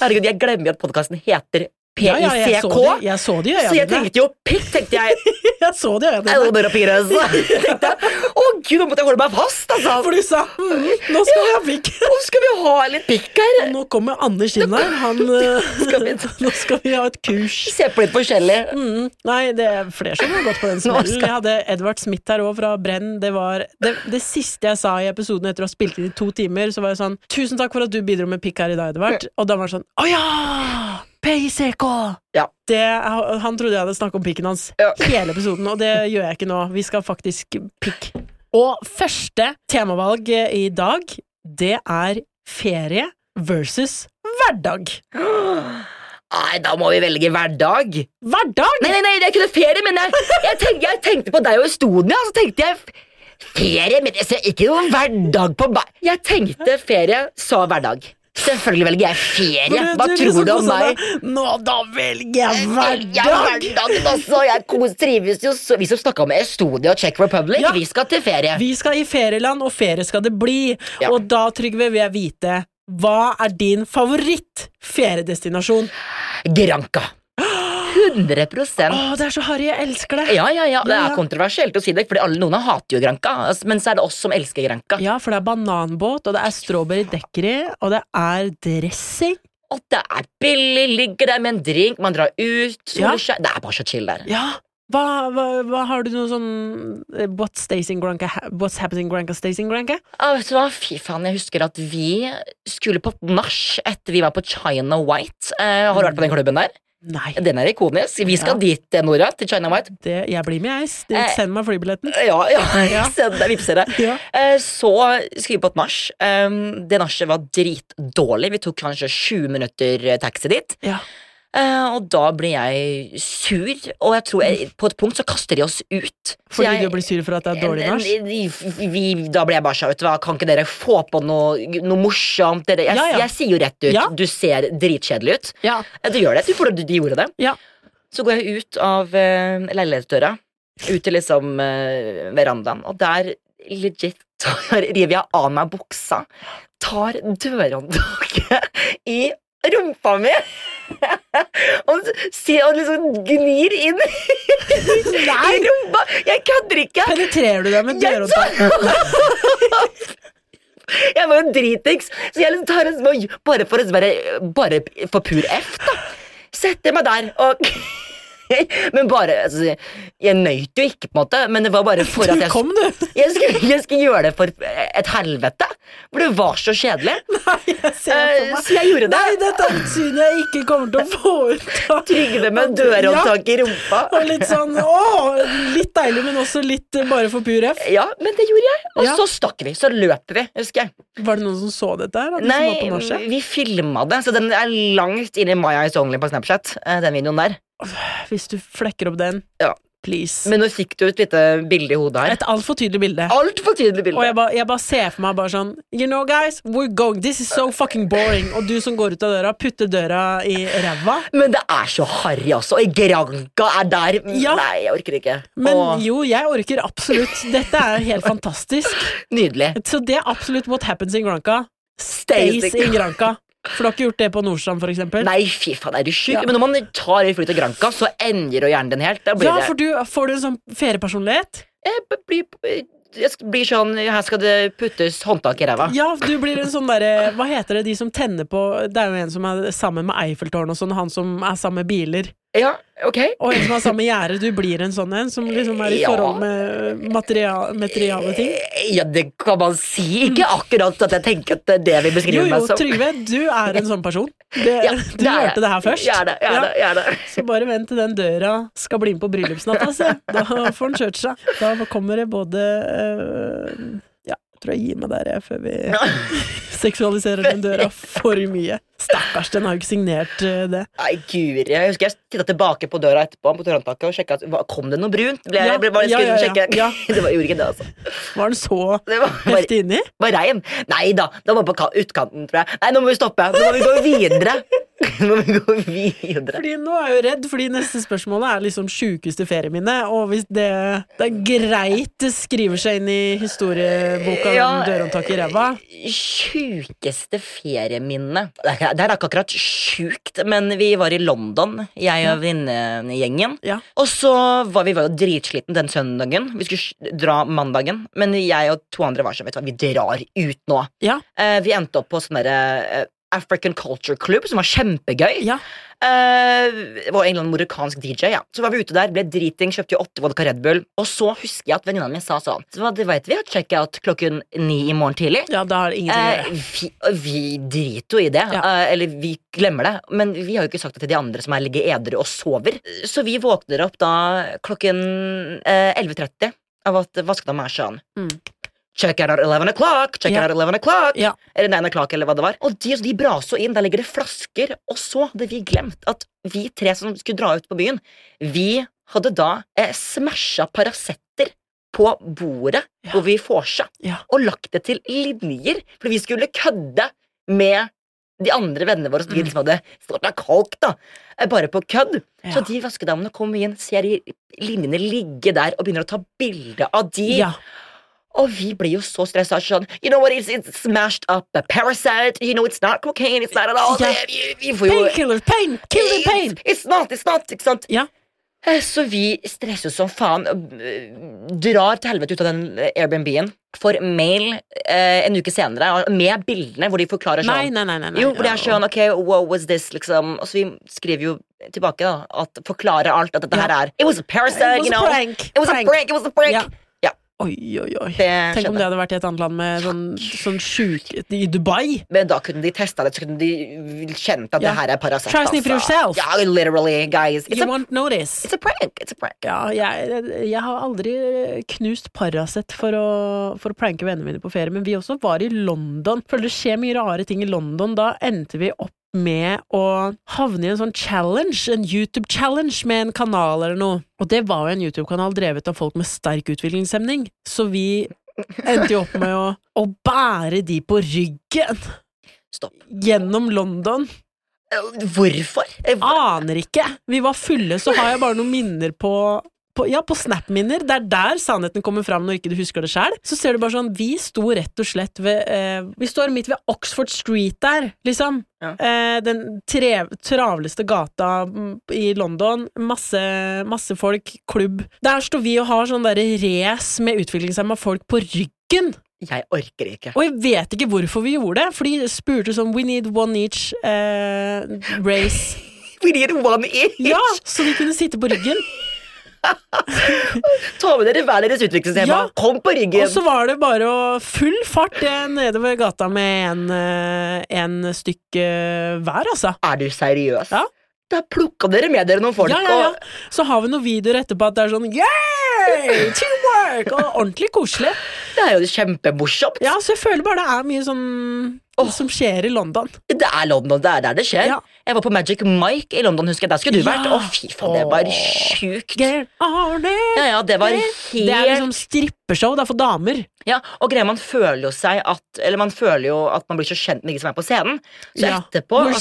S3: Herregud, jeg glemmer jo at podkasten heter PICK.
S2: Ja, ja, jeg så det- jeg så det i
S3: så
S2: øynene
S3: jeg
S2: dine.
S3: tenkte jo pikk, tenkte jeg.
S2: Jeg så det i øynene dine.
S3: Elmer og Pirøse. Tenkte jeg, Å gud, nå måtte jeg holde meg fast, altså.
S2: For du sa mm, 'nå skal vi ha pikk'.
S3: Nå skal vi ha litt pikk her.
S2: Og nå kommer Anders inn her. Han eh,
S3: Skal vi-
S2: Nå skal vi ha et kurs.
S3: Se på litt forskjellig.
S2: Mm, nei, det er flere som har gått på den smellen.
S3: skal-
S2: Jeg hadde Edvard Smith her òg, fra Brenn. Det var det, det siste jeg sa i episoden etter å ha spilt inn i to timer, så var jeg sånn 'Tusen takk for at du bidro med pikk her i dag, Edvard'. Og da var det sånn 'Å ja! PICK!'
S3: Ja.
S2: Det, han trodde jeg hadde snakket om pikken hans
S3: Ja.
S2: hele episoden, og det gjør jeg ikke nå. Vi skal faktisk pikk. Og første temavalg eh, i dag, det er ferie versus hverdag.
S3: Nei, da må vi velge hverdag.
S2: Hverdag!
S3: Nei, nei, nei, det er ikke noe ferie, men jeg, jeg, tenk, jeg tenkte på deg og Estonia, så tenkte jeg f- ferie, men jeg ser ikke noen hverdag på ba... Jeg tenkte ferie, så hverdag. Selvfølgelig velger jeg ferie.
S2: Men
S3: Hva
S2: du
S3: tror
S2: liksom
S3: du
S2: på
S3: om
S2: sånn
S3: meg?
S2: da, Nå, da velger jeg
S3: Jeg er
S2: hverdag!
S3: hverdagen også, jeg kos- trives jo så Vi som snakka om Estonia og Czech Republic,
S2: Ja.
S3: vi skal til ferie.
S2: Vi skal i ferieland, og ferie skal det bli.
S3: Ja.
S2: Og da, Trygve, vil jeg vite hva er din favoritt-feriedestinasjon?
S3: Granca. 100
S2: Å, det er så harry, jeg elsker det!
S3: Ja, ja, ja. Det
S2: Ja,
S3: er
S2: ja.
S3: kontroversielt å si det, for noen hater jo Granca, altså, men så er det oss som elsker Granca.
S2: Ja, for det er bananbåt, og det er strawberry dekkeri, og det er dressing.
S3: At det er billig, ligger der med en drink, man drar ut,
S2: Ja.
S3: soler seg Det er bare så chill der.
S2: Ja! Hva, hva, hva har du noe sånn eh, What stays in Granca, ha- what's happening Granca stays in Granca?
S3: Ah, vet du hva, fy faen, jeg husker at vi skulle på nach etter vi var på China White. Eh, har du vært på den klubben der?
S2: Nei.
S3: Den er ikonisk. Vi skal
S2: Ja.
S3: dit, eh, Nora, til China White.
S2: Det, jeg blir med, jeg. S-
S3: Eh.
S2: Send meg flybilletten.
S3: Eh, Ja, ja,
S2: Ja.
S3: send deg vipser det.
S2: Ja.
S3: Eh, Så skulle vi på et nach. Um, det nachet var dritdårlig. Vi tok kanskje 20 minutter eh, taxi dit.
S2: Ja.
S3: Eh, og da ble jeg sur, og jeg tror jeg, på et punkt så kaster de oss ut. Så
S2: Fordi
S3: jeg, Eh,
S2: du blir sur for at det er dårlig nach?
S3: Vi, vi- da ble jeg bare sånn, vet du hva, kan ikke dere få på noe, noe morsomt? Dere, jeg,
S2: Ja, ja.
S3: jeg sier jo rett ut,
S2: Ja.
S3: du ser dritkjedelig ut.
S2: Ja.
S3: Eh, Du gjør det, du, for du, du gjorde det.
S2: Ja.
S3: Så går jeg ut av eh, leilighetsdøra, ut til liksom eh, verandaen, og der legit tar, river jeg av meg buksa, tar dørhåndtaket i rumpa mi. Og ser og liksom gnir inn i rumpa. Jeg kødder ikke!
S2: Penetrerer du deg med
S3: Jeg
S2: dørhåndtak?
S3: Jeg var jo dritings, så jeg liksom tar en små- bare for, å være, bare for pur F, da. Setter meg der og Men bare altså, Jeg nøyt jo ikke, på en måte, men det var bare for at
S2: Du
S3: jeg
S2: kom, du!
S3: jeg skulle, jeg skulle gjøre det for et helvete, for det var så kjedelig.
S2: Nei, jeg ser
S3: Eh,
S2: for meg.
S3: så jeg gjorde det.
S2: Nei, dette er et syn jeg ikke kommer til å få ut av.
S3: Trygve med dørhåndtaket i rumpa.
S2: Og litt sånn å, litt deilig, men også litt eh, bare for pur F.
S3: Ja, men det gjorde jeg. Og
S2: Ja.
S3: så stakk vi. Så løp vi, husker jeg.
S2: Var det noen som så dette her? da, de som var på
S3: Nei,
S2: nachspiel?
S3: vi filma det, så den er langt inn i Maya is only på Snapchat. eh, Den videoen der.
S2: Hvis du flekker opp den.
S3: Ja.
S2: Please.
S3: Men nå fikk du et lite bilde i hodet her.
S2: Et altfor tydelig bilde.
S3: Altfor tydelig
S2: Og
S3: bilde.
S2: jeg bare, jeg bare ser for meg bare sånn You know guys, we're going, this is so fucking boring Og du som går ut av døra, putter døra i ræva
S3: Men det er så harry også. Og Granka er der. Mm,
S2: Ja.
S3: Nei, jeg orker ikke.
S2: Men
S3: Åh,
S2: jo, jeg orker absolutt Dette er jo helt fantastisk
S3: nydelig.
S2: Så det er absolutt what happens in Granca
S3: Stays
S2: Stays in Granca For du har ikke gjort det på Nordstrand for eksempel
S3: Nei, fy faen, er du sjuk? Men når man tar et fly til Granca, så ender jo hjernen din helt. Da blir
S2: Ja,
S3: det-
S2: for du, får du en sånn feriepersonlighet
S3: jeg, b- blir, jeg sk- blir sånn Her skal det puttes håndtak i ræva.
S2: Ja, du blir en sånn derre Hva heter det, de som tenner på Det er jo en som er sammen med Eiffeltårn og sånn Han som er sammen med biler
S3: Ja, ok.
S2: Og en som har samme gjerde, du blir en sånn en som liksom er i
S3: Ja.
S2: forhold med material, materiale ting.
S3: Ja, det kan man si. Ikke akkurat at jeg tenker at det er det
S2: Jo,
S3: vi beskriver
S2: jo,
S3: meg som.
S2: Trygve, du er en sånn person. Det,
S3: altså. Ja,
S2: du
S3: er jeg.
S2: hørte det her først.
S3: Jeg er det, jeg er
S2: Ja.
S3: det, jeg er det.
S2: Så bare vent til den døra skal bli med på bryllupsnatt, altså. Da får den kjørt seg. Da kommer det både øh, Ja, jeg tror jeg gir meg der, jeg, før vi seksualiserer den døra for mye. Stakkars, den har jo ikke signert øh, det.
S3: Nei, guri. Jeg husker jeg titta tilbake på døra etterpå på dørhåndtaket og sjekka at hva- kom det noe brunt. Ble,
S2: Ja,
S3: jeg ble bare
S2: ja,
S3: skulle
S2: ja, ja.
S3: sjekke.
S2: Ja.
S3: Det var, gjorde ikke det, altså.
S2: Var den så
S3: Det var bare,
S2: heftig inni?
S3: bare regn. Nei da, det var på ka- utkanten, tror jeg. Nei, nå må vi stoppe. Nå må vi gå videre. Nå må vi gå videre.
S2: Fordi nå er jeg jo redd, fordi neste spørsmål er liksom sjukeste ferieminne, og hvis det, det er greit det skriver seg inn i historieboka
S3: Ja.
S2: om dørhåndtaket i ræva
S3: Sjukeste ferieminne. Det er det er ikke akkurat sjukt, men vi var i London, jeg og venninnegjengen.
S2: Ja.
S3: Og så var vi var jo dritsliten den søndagen. Vi skulle sj- dra mandagen, men jeg og to andre var sånn, vet du hva, vi drar ut nå.
S2: Ja.
S3: Eh, vi endte opp på sånn derre eh, African Culture Club, som var kjempegøy.
S2: Ja.
S3: Eh, det var en eller annen amerikansk DJ, ja. Så var vi ute der, ble driting, kjøpte jo åtte vodka Red Bull. Og så husker jeg at venninna mi sa sånn Så det vet vi at check-out klokken ni i morgen tidlig.
S2: Ja, da har det ingenting å
S3: Eh,
S2: gjøre.
S3: vi, vi driter jo i det.
S2: Ja.
S3: Eh, eller vi glemmer det. Men vi har jo ikke sagt det til de andre som er ligger edru og sover. Så vi våkner opp da klokken eh, 11.30 av at vaskedama er sånn.
S2: Mm.
S3: Check out at 11 o'clock! Check
S2: Ja.
S3: out at 11 o'clock!
S2: Ja.
S3: Eller 9 o'clock, eller hva det var. Og de, de braser jo inn, der ligger det flasker. Og så hadde vi glemt at vi tre som skulle dra ut på byen, vi hadde da eh, smasha Paracetter på bordet
S2: Ja.
S3: hvor vi vorsa
S2: Ja.
S3: og lagt det til linjer, for vi skulle kødde med de andre vennene våre som
S2: Mm.
S3: de liksom hadde stått med kalk, da. eh, Bare på kødd.
S2: Ja.
S3: Så de vaskedamene kommer inn, ser i- linjene ligge der og begynner å ta bilde av de.
S2: Ja.
S3: Og vi ble jo så stressa. Sånn, you know what, it's, it's smashed up a parasite. You know, it's not cocaine. It's not at all.
S2: Ja.
S3: Det- Vi, vi får jo
S2: Painkiller, pain, kill the pain!
S3: It's, it's not, it's not, ikke sant?
S2: Ja.
S3: Eh, Så vi stresser som faen. eh, Drar til helvete ut av den eh, Airbnb-en. Får mail eh, en uke senere med bildene hvor de forklarer sånn
S2: Nei, nei, nei. nei, nei.
S3: jo, for det er sånn, ok, what was this, liksom Og så vi skriver jo tilbake da At forklarer alt, at dette
S2: Ja.
S3: her er It was a parasite,
S2: It was a
S3: you know
S2: prank,
S3: It was
S2: prank.
S3: a prank, it was a prank
S2: Ja.
S3: Ja,
S2: Oi, oi, oi.
S3: det
S2: Tenk om
S3: skjedde
S2: det hadde vært i et annet land med sånn, sånn sjuk I Dubai!
S3: Men da kunne de testa det, så kunne de kjent at
S2: Ja.
S3: det her er parasitt.
S2: Try sniff yourself.
S3: Ja, literally, guys. It's,
S2: You
S3: a,
S2: won't notice.
S3: it's a prank. It's a prank.
S2: Ja, jeg, jeg har aldri knust Paracet for å, for å pranke vennene mine på ferie, men vi også var i London. Føler det skjer mye rare ting i London. Da endte vi opp med å havne i en sånn challenge, en YouTube-challenge med en kanal eller noe. Og det var jo en YouTube-kanal drevet av folk med sterk utviklingshemning, så vi endte jo opp med å, å bære de på ryggen
S3: Stopp.
S2: gjennom London.
S3: Eh, Hvorfor? Eh, hva-
S2: Aner ikke. Vi var fulle, så har jeg bare noen minner på på, ja, på Snap-minner. Det er der sannheten kommer fram når ikke du husker det sjøl. Så ser du bare sånn Vi sto rett og slett ved eh, Vi står midt ved Oxford Street der, liksom.
S3: Ja.
S2: Eh, den tre, travleste gata mm, i London. Masse, masse folk, klubb. Der står vi og har sånn derre race med utviklingshemma folk på ryggen.
S3: Jeg orker ikke.
S2: Og jeg vet ikke hvorfor vi gjorde det, for de spurte sånn We need one each eh, race.
S3: We need one each.
S2: Ja, så vi kunne sitte på ryggen.
S3: Ta med dere hver deres utviklingshemma.
S2: Ja.
S3: Kom på ryggen.
S2: Og så var det bare å full fart eh, nedover gata med en, eh, en stykke hver, altså.
S3: Er du seriøs?
S2: Ja.
S3: Da plukka dere med dere noen folk.
S2: Ja, ja, ja.
S3: og-
S2: Så har vi noen videoer etterpå at det er sånn yeah! Teamwork! Og ordentlig koselig.
S3: Det er jo kjempemorsomt.
S2: Ja, så jeg føler bare det er mye sånn som skjer i London.
S3: Det er London, det er der det skjer.
S2: Ja.
S3: Jeg var på Magic Mike i London, husker jeg. Der skulle du
S2: Ja.
S3: vært. Å, fy faen, det var sjukt. Ja, ja, det var helt
S2: Det er liksom strippeshow, det er for damer.
S3: Ja, og greia man føler jo seg at Eller man føler jo at man blir så kjent med de som er på scenen. Så
S2: Ja.
S3: etterpå
S2: We're
S3: altså,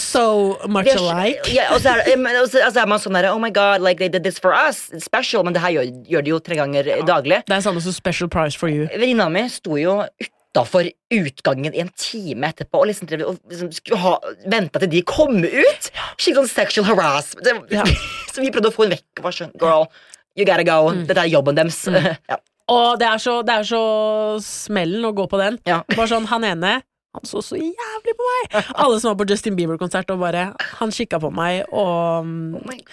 S2: so much
S3: vi er så-
S2: alike.
S3: Ja, og så er, det- men- og så, og så er man sånn der Oh my god, like they did this for us. It's Special. Men det her gjør, gjør de jo tre ganger eh, daglig.
S2: Det er samme som Special Prize for you.
S3: Venninna mi sto jo utafor utgangen i en time etterpå og liksom, drev- og liksom skulle ha, venta til de kom ut. Skikkelig sånn sexual harassment. Det-
S2: Ja.
S3: så vi prøvde å få henne vekk. Var sånn, Girl, you gotta go.
S2: Mm.
S3: Dette er jobben deres. ja.
S2: Og det er så, det er så smellen å gå på den.
S3: Ja.
S2: Bare sånn, han ene han så så jævlig på meg! Alle som var på Justin Bieber-konsert og bare Han kikka på meg, og mm,
S3: my-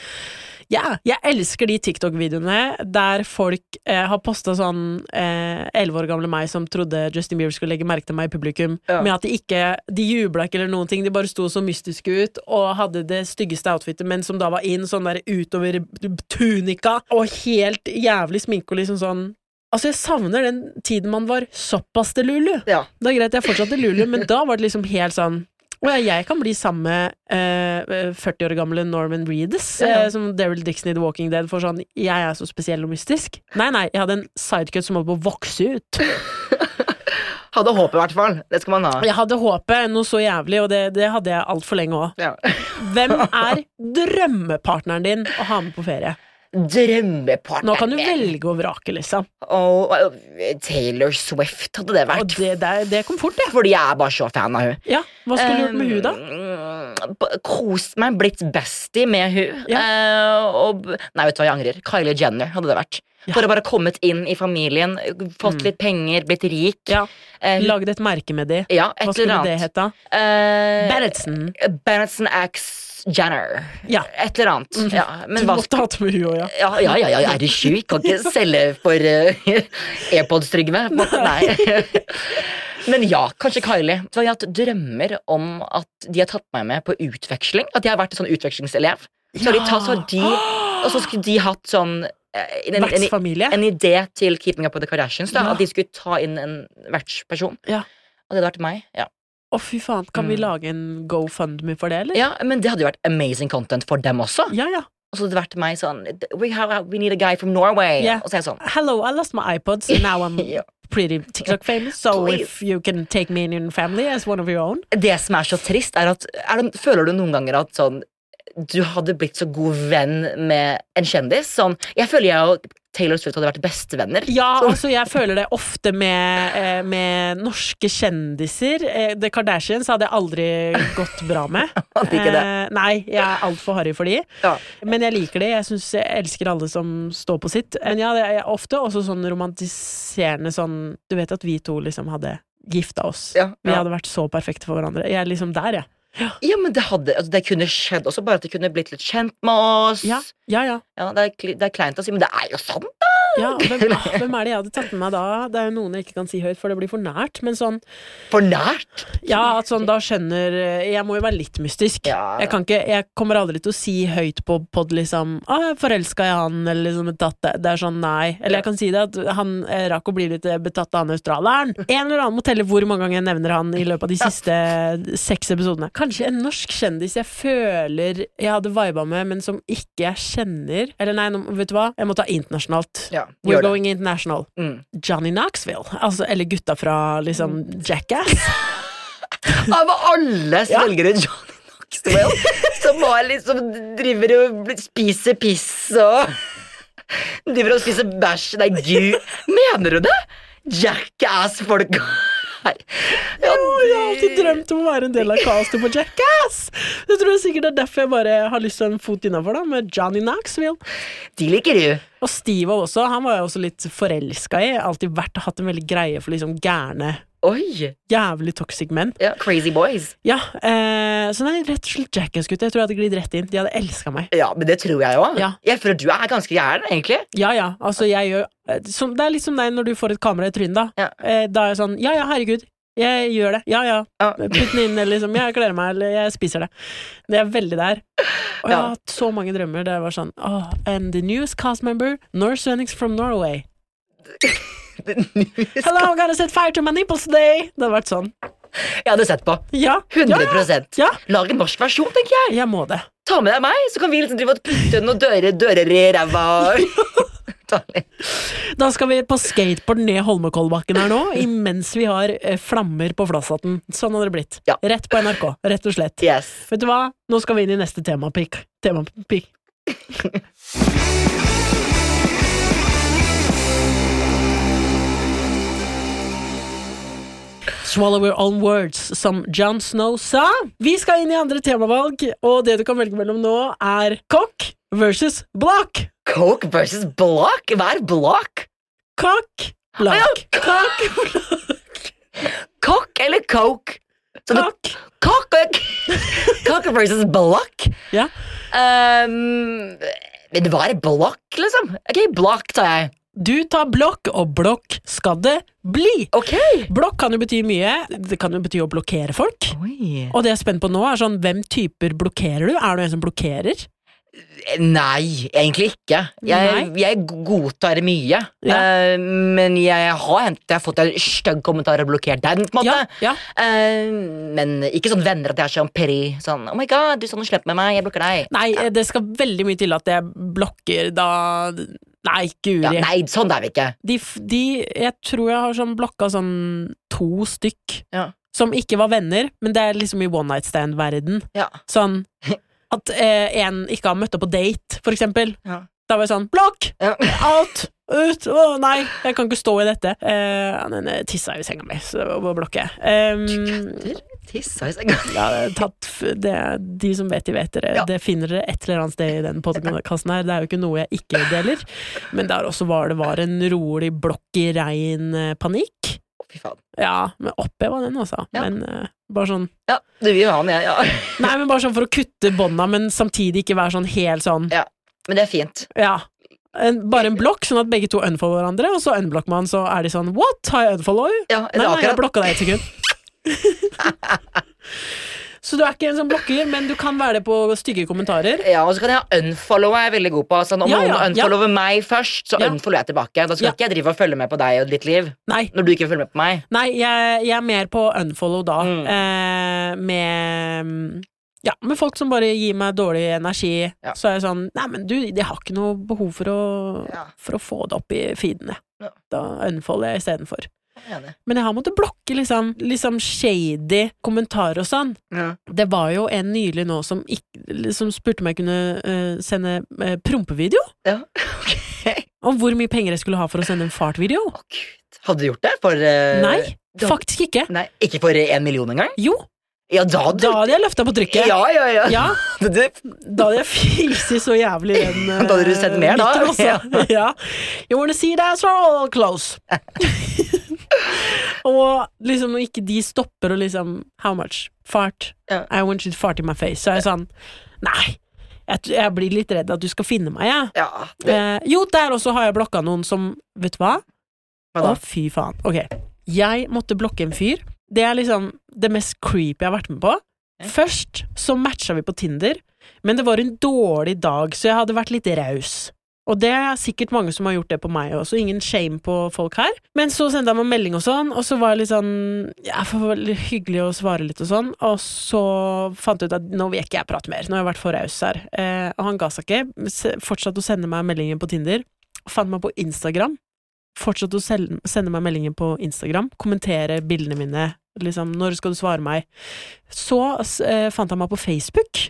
S2: Ja, jeg elsker de TikTok-videoene der folk eh, har posta sånn elleve år gamle meg som trodde Justin Bieber skulle legge merke til meg i publikum,
S3: Ja.
S2: med at de ikke De jubla ikke eller noen ting, de bare sto så mystiske ut og hadde det styggeste outfitet, men som da var inn sånn der utover tunika og helt jævlig sminke og liksom sånn Altså, jeg savner den tiden man var såpass til Lulu.
S3: Ja.
S2: Det er greit, jeg fortsatte Lulu, men da var det liksom helt sånn Å ja, jeg kan bli samme eh, 40 år gamle Norman Reedus
S3: Ja, ja.
S2: eh, som Daryl Dixon i The Walking Dead, for sånn Jeg er så spesiell og mystisk. Nei, nei, jeg hadde en sidecut som holdt på å vokse ut.
S3: Hadde håpet, i hvert fall. Det skal man ha.
S2: Jeg hadde håpet noe så jævlig, og det, det hadde jeg altfor lenge òg.
S3: Ja.
S2: Hvem er drømmepartneren din å ha med på ferie?
S3: Drømmepartner.
S2: Nå kan du velge og vrake, liksom.
S3: Og, og, Taylor Swift hadde det
S2: Og
S3: vært.
S2: det, det, er- det kom fort, det.
S3: Fordi jeg er bare så fan av hun
S2: Ja, hva skulle du gjort med hun da?
S3: Um, b- Kost meg, blitt bestie med hun
S2: Ja.
S3: Eh, og, b- nei, vet du hva, jeg angrer. Kylie Jenner hadde det vært.
S2: Ja. Mm.
S3: For å bare kommet inn i familien, fått litt penger, blitt rik.
S2: Ja,
S3: Eh, hun-
S2: Lagde et merke med de.
S3: ja et
S2: Hva
S3: eller
S2: skulle
S3: annet.
S2: det hete? da?
S3: Eh,
S2: Berretsen.
S3: Bennettson Axe Jenner.
S2: Ja. Mhm.
S3: Et eller annet. Ja, men
S2: Du
S3: hva
S2: måtte ha hatt med hun òg, ja.
S3: ja, ja, ja, ja, er du sjuk? Kan ikke selge for eh, AirPods, Trygve. Nei. Men ja, kanskje Kylie. Så jeg har hatt drømmer om at de har tatt meg med på utveksling. At jeg har vært en sånn utvekslingselev. Så har de tatt, så har de, og så skulle de hatt sånn eh, en, en, en,
S2: Vertsfamilie.
S3: en idé til Keeping Up With The Kardashians. Da,
S2: Ja.
S3: At de skulle ta inn en vertsperson.
S2: Ja.
S3: Og det hadde vært meg. Ja.
S2: Å, fy faen. Kan vi lage en GoFundMe for det, eller?
S3: Mm. ja, Men det hadde jo vært amazing content for dem også.
S2: ja. ja.
S3: Og så hadde det vært meg sånn We, have, we need a guy from Norway.
S2: Ja.
S3: Og så er jeg sånn
S2: Hello, I lost my iPods. Now I'm
S3: Ja.
S2: pretty TikTok famous, so
S3: Please.
S2: if you can take me in your family as one of your own.
S3: det som er så trist, er at er det, Føler du noen ganger at sånn du hadde blitt så god venn med en kjendis? Sånn, jeg føler jeg og Taylor Swift hadde vært bestevenner.
S2: Ja,
S3: Sånn.
S2: altså jeg føler det ofte med, eh, med norske kjendiser. Eh, The Kardashians hadde jeg aldri gått bra med.
S3: Hadde ikke det.
S2: Eh, nei, jeg er altfor harry for de.
S3: Ja.
S2: Men jeg liker det. Jeg, synes, jeg elsker alle som står på sitt. Men ja, det er ofte også sånn romantiserende sånn Du vet at vi to liksom hadde gifta oss.
S3: Ja,
S2: Vi
S3: ja.
S2: hadde vært så perfekte for hverandre. Jeg er liksom der, jeg.
S3: ja, men det, hadde, altså, det kunne skjedd også, bare at de kunne blitt litt kjent med oss.
S2: Ja, ja. ja.
S3: Ja, det, er, kli- det er kleint å si, men det er jo sant!
S2: ja og hvem, ah, hvem er det jeg hadde tatt med meg da? Det er jo noen jeg ikke kan si høyt, for det blir for nært. Men sånn
S3: For nært!
S2: Ja, at sånn da skjønner Jeg må jo være litt mystisk.
S3: Ja.
S2: Jeg, kan ikke, jeg kommer aldri til å si høyt på pod liksom Å, jeg er forelska i han, eller liksom betatt det. Det er sånn, nei. Eller jeg kan si det, at han eh, rakk å bli litt eh, betatt av han australieren. En eller annen må telle hvor mange ganger jeg nevner han i løpet av de siste seks episodene. Kanskje en norsk kjendis jeg føler jeg hadde viba med, men som ikke jeg kjenner. Eller nei, nå- vet du hva, jeg må ta internasjonalt.
S3: Ja,
S2: We're
S3: gjør det.
S2: going international.
S3: Mm.
S2: Johnny Knoxville. Altså, eller gutta fra liksom Jackass.
S3: Av alle som
S2: Ja.
S3: velger ut Johnny Knoxville, som bare liksom driver og spiser piss og Driver og spiser bæsj. Nei, gud! Mener du det?! Jackass-folk. Nei. Ja,
S2: Jeg har alltid drømt om å være en del av castet på Jackass! Det tror jeg sikkert er derfor jeg bare har lyst til å ha en fot innafor, da, med Johnny Knoxville.
S3: De liker du.
S2: Og Steve også. Han var jeg også litt forelska i. Alltid vært og hatt en veldig greie for liksom gærne,
S3: Oi!
S2: jævlig toxic menn.
S3: Ja, crazy boys.
S2: Ja, eh, så nei, rett og slett Jackass-gutter. Jeg tror jeg hadde glidd rett inn. De hadde elska meg.
S3: Ja, men det tror jeg òg.
S2: Ja.
S3: Jeg føler du er ganske gæren, egentlig.
S2: Ja, ja. Altså, jeg gjør eh, som, Det er litt som deg når du får et kamera i trynet, da.
S3: Ja.
S2: Eh, da er jeg sånn Ja, ja, herregud. Jeg gjør det. Ja, ja.
S3: Ja.
S2: Putt den inn, eller liksom. Jeg kler meg, eller jeg spiser det. Det er veldig der. Og jeg
S3: Ja.
S2: har hatt så mange drømmer der jeg var sånn «Åh, And the newest cast member, Nor Svenix from Norway. Hello, I'm gonna set fire to my nipples today! Det hadde vært sånn.
S3: Jeg hadde sett på.
S2: Ja.
S3: 100
S2: Ja.
S3: Lag en norsk versjon, tenker jeg.
S2: Jeg må det.
S3: Ta med deg meg, så kan vi liksom drive og putte noen dører, dører i ræva. Ta litt.
S2: Da skal vi på skateboard ned Holmenkollbakken her nå, imens vi har eh, flammer på Flasshatten. Sånn hadde det blitt.
S3: Ja.
S2: Rett på NRK, rett og slett.
S3: Yes.
S2: Vet du hva? Nå skal vi inn i neste temapikk. Temapikk. Swallow your own words, som John Snow sa. Vi skal inn i andre temavalg, og det du kan velge mellom nå, er kokk versus blokk.
S3: Coke versus block? Hva er block?
S2: Kokk, blokk. Kokk, blokk,
S3: Cock eller coke? Så det-
S2: kokk.
S3: Cock og Cock versus block?
S2: Ja.
S3: Ehm, men det var block, liksom. Ok, block tar jeg.
S2: Du tar blokk, og blokk skal det bli.
S3: Ok.
S2: Blokk kan jo bety mye. Det kan jo bety å blokkere folk. Og det jeg er spent på nå, er sånn hvem typer blokkerer du? Er du en som blokkerer?
S3: Nei, egentlig ikke. Jeg, jeg godtar mye.
S2: Ja.
S3: Eh, men jeg har, hent, jeg har fått en stygg kommentar og blokkert den. på en måte
S2: Ja, ja.
S3: Eh, Men ikke sånn venner at jeg er sånn peri. Sånn, oh my god, du sa noe slemt med meg, jeg blokker deg.
S2: Nei, eh, det skal veldig mye til at jeg blokker da Nei, guri.
S3: Ja, nei, sånn er vi ikke.
S2: De, f- de Jeg tror jeg har sånn blokka sånn to stykk
S3: Ja.
S2: som ikke var venner, men det er liksom i one night stand-verden.
S3: Ja.
S2: Sånn at eh, en ikke har møtt opp på date, for eksempel.
S3: Ja.
S2: Da var jeg sånn Blokk!
S3: Ja.
S2: Out! Ut! Å nei, jeg kan ikke stå i dette. Eh, den eh, tissa i senga mi, så det var bare å blokke. Um,
S3: Tissa i senga.
S2: ja, det er tatt, f- det er de som vet, de vet dere.
S3: Ja.
S2: Det finner dere et eller annet sted i den podkasten her. Det er jo ikke noe jeg ikke deler. Men der også var det var en rolig blokk i rein eh, panikk.
S3: Å, Fy faen.
S2: Ja, men oppheva den, altså.
S3: Ja.
S2: Men eh, bare sånn
S3: Ja, du vil ha den, jeg. Ja.
S2: Nei, men bare sånn for å kutte bånda, men samtidig ikke være sånn helt sånn
S3: Men det er fint.
S2: Ja. En, bare en blokk, sånn at begge to unfollower hverandre, og så unblocker man, så er de sånn What? Har jeg unfollow you?
S3: Ja,
S2: Nei,
S3: det er
S2: nei, jeg
S3: akkurat.
S2: blokka deg et sekund. så du er ikke en sånn blokker, men du kan være det på stygge kommentarer.
S3: Ja, og så kan jeg unfollowe jeg er veldig god på. Sånn, om
S2: Ja, ja,
S3: noen unfollower meg først, så
S2: Ja.
S3: unfollower jeg tilbake. Da skal
S2: Ja.
S3: ikke jeg drive og følge med på deg og ditt liv.
S2: Nei,
S3: Når du ikke følger med på meg.
S2: nei jeg, jeg er mer på unfollow da.
S3: Mm.
S2: Eh, med mm, ja, med folk som bare gir meg dårlig energi,
S3: Ja.
S2: så er jeg sånn Nei, men du, jeg har ikke noe behov for å,
S3: Ja.
S2: for å få det opp i feedene.
S3: Ja.
S2: Da unfolder jeg istedenfor.
S3: Jeg er enig.
S2: Men jeg har måttet blokke liksom, liksom shady kommentarer og sånn.
S3: Ja.
S2: Det var jo en nylig nå som, ikk- som spurte om jeg kunne eh, sende eh, prompevideo.
S3: Ja, ok.
S2: Om hvor mye penger jeg skulle ha for å sende en fartvideo.
S3: Å, Gud. Hadde du gjort det for eh,
S2: Nei,
S3: da-
S2: faktisk ikke.
S3: Nei, Ikke for én million engang?
S2: Jo,
S3: Ja, da hadde
S2: da hadde jeg løfta på trykket.
S3: Ja, ja, ja.
S2: Ja,
S3: Du- du-
S2: da hadde jeg fisi så jævlig i den eh,
S3: Da hadde du sett mer, da.
S2: lytteren også. ja. You wanna see that, so close. og liksom når ikke de stopper og liksom How much? Fart?
S3: Ja.
S2: I want you to fart in my face. Så er jeg sånn Nei, jeg, t- jeg blir litt redd at du skal finne meg, jeg.
S3: ja det,
S2: Eh, jo, der også har jeg blokka noen som Vet du hva?
S3: hva
S2: Å,
S3: da?
S2: fy faen. Ok. Jeg måtte blokke en fyr. Det er liksom det mest creepy jeg har vært med på. Først så matcha vi på Tinder, men det var en dårlig dag, så jeg hadde vært litt raus. Og det er sikkert mange som har gjort det på meg også, ingen shame på folk her. Men så sendte jeg meg en melding og sånn, og så var jeg litt sånn Jeg får veldig hyggelig å svare litt og sånn, og så fant jeg ut at nå vil jeg ikke jeg prate mer, nå har jeg vært for raus her. Eh, og han ga seg ikke, se- fortsatte å sende meg meldinger på Tinder, fant meg på Instagram fortsatt å sel- sende meg meldinger på Instagram, kommentere bildene mine, liksom 'når skal du svare meg?' Så s- eh, fant han meg på Facebook.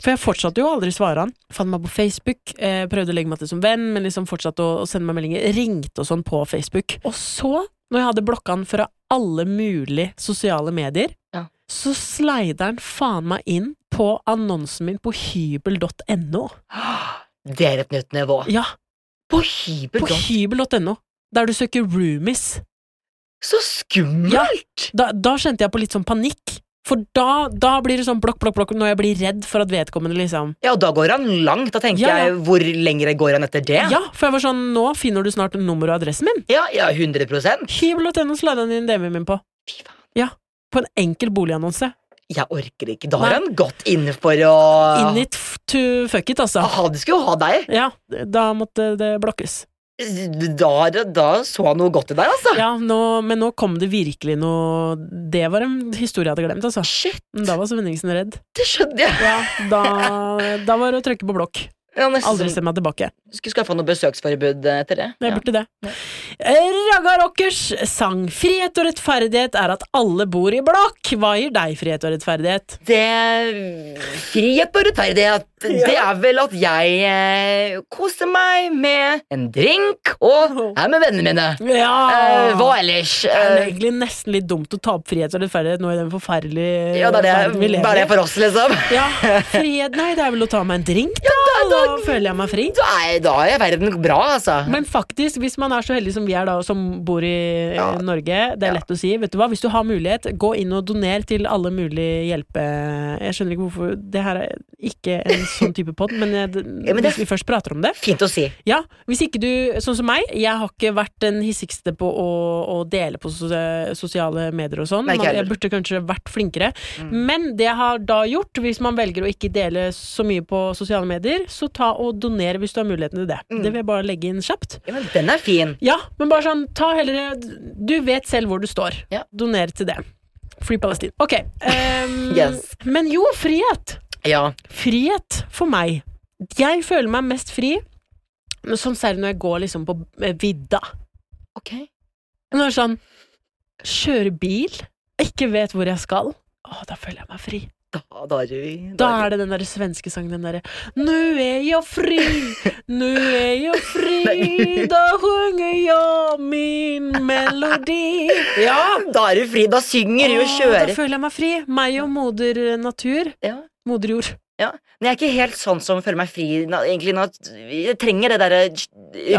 S2: For jeg fortsatte jo aldri å svare han. Fant meg på Facebook, eh, prøvde å legge meg til som venn, men liksom fortsatte å, å sende meg meldinger. Ringte og sånn på Facebook. Og så, når jeg hadde blokka han fra alle mulige sosiale medier,
S3: Ja.
S2: så sleider han faen meg inn på annonsen min på hybel.no.
S3: Det er et nytt nivå.
S2: Ja,
S3: På
S2: på
S3: hybel. da.
S2: hybel.no. Der du søker roomies.
S3: Så skummelt!
S2: da, da kjente jeg på litt sånn panikk. For da, da blir det sånn blokk, blokk, blokk, når jeg blir redd for at vedkommende liksom
S3: Ja, da går han langt. Da tenker
S2: Ja, ja.
S3: jeg, hvor lengre går han etter det?
S2: Ja, for jeg var sånn, nå finner du snart nummer og adressen min.
S3: ja, ja 100 Jeg
S2: Hybel.no slada han inn DM-en min på. Ja, på en enkel boligannonse.
S3: orker ikke. Da har
S2: Nei.
S3: han gått inn for å
S2: In it f- to fuck it, altså.
S3: Ah, Han skulle jo ha deg.
S2: Ja, da måtte det blokkes.
S3: Da, da så han noe godt i deg, altså.
S2: Ja, nå, men nå kom det virkelig noe Det var en historie jeg hadde glemt, altså.
S3: Shit,
S2: Da var Svenningsen redd.
S3: det skjønner jeg.
S2: Ja, da, da var det å trykke på blokk.
S3: Ja, nesten
S2: Aldri
S3: som-
S2: send meg tilbake.
S3: Skulle skaffe noe besøksforbud eh, etter det.
S2: Jeg
S3: Ja.
S2: burde det. Eh, Raga Rockers sang 'Frihet og rettferdighet er at alle bor i blokk'. Hva gir deg frihet og rettferdighet?
S3: Det Frihet og rettferdighet, det er vel at jeg eh, koser meg med en drink og er med vennene mine. Eh,
S2: Ja!
S3: hva ellers?
S2: det er
S3: Eh,
S2: egentlig nesten litt dumt å ta opp frihet og rettferdighet nå i den forferdelige
S3: Eh, ja, det er
S2: verden vi
S3: det, det
S2: lever
S3: er det
S2: i.
S3: for oss, liksom.
S2: Ja, frihet Nei, det er vel å ta meg en drink, da! da føler jeg meg fri.
S3: Da er, da er verden bra, altså.
S2: Men faktisk, hvis man er så heldig som vi er da, som bor i
S3: Ja.
S2: eh, Norge, det er lett å si. Vet du hva, Hvis du har mulighet, gå inn og doner til alle mulige hjelpe... Jeg skjønner ikke hvorfor Det her er ikke en sånn type pod, men, jeg,
S3: men det-
S2: hvis vi først prater om det
S3: Fint å si.
S2: Ja, Hvis ikke du, sånn som meg Jeg har ikke vært den hissigste på å, å dele på sos sosiale medier og sånn.
S3: Nei, ikke
S2: Man-
S3: heller. Mm.
S2: Jeg burde kanskje vært flinkere. Men det jeg har da gjort, hvis man velger å ikke dele så mye på sosiale medier, så ta og donere hvis du har muligheten til det.
S3: Mm.
S2: Det vil jeg bare legge inn kjapt.
S3: Ja, men den er fin.
S2: Ja, men bare sånn, ta heller Du vet selv hvor du står.
S3: Ja.
S2: Doner til det. Free Palestine. Ok. ehm,
S3: Yes.
S2: Men jo, frihet.
S3: Ja.
S2: Frihet for meg. Jeg føler meg mest fri, men sånn særlig når jeg går liksom på eh, vidda.
S3: Ok.
S2: Når jeg sånn Kjører bil, ikke vet hvor jeg skal. Å, da føler jeg meg fri.
S3: Da, da er vi
S2: Da er det den derre svenske sangen, den derre Nu er jeg fri, nu er jeg fri, da synger jeg min melodi. Ja!
S3: Da er du fri. Da synger du og
S2: Åh, Da
S3: kjører.
S2: føler jeg meg fri. Meg og moder natur.
S3: Ja.
S2: Moder jord.
S3: Ja. Men jeg er ikke helt sånn som føler meg fri na- egentlig. Na, jeg trenger det derre j-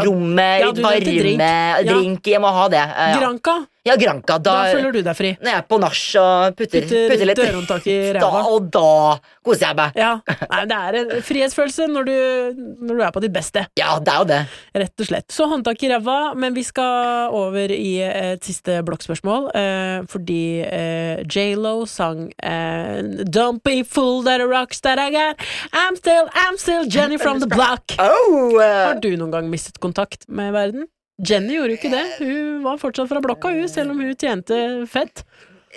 S3: rommet,
S2: Ja, du
S3: varme,
S2: nevnte drink.
S3: drink.
S2: Ja.
S3: Jeg må ha det. Eh, Ja,
S2: Granka,
S3: ja Granca. Da,
S2: da føler du deg fri.
S3: når jeg er på nach og putter,
S2: Putter
S3: putter, litt
S2: dørhåndtak i ræva.
S3: Da, og da koser jeg meg.
S2: Ja. Nei, det er en frihetsfølelse når du, når du er på ditt beste,
S3: Ja, det er jo det.
S2: rett og slett. Så håndtak i ræva, men vi skal over i et siste blokkspørsmål, eh, fordi eh, J.Lo sang eh, Don't be fool that a rocks that I got. I'm still, I'm still Jenny from the block.
S3: Oh, eh,
S2: Har du noen gang mistet kontakt med verden? Jenny gjorde jo ikke det. Hun var fortsatt fra blokka, hun, selv om hun tjente fett.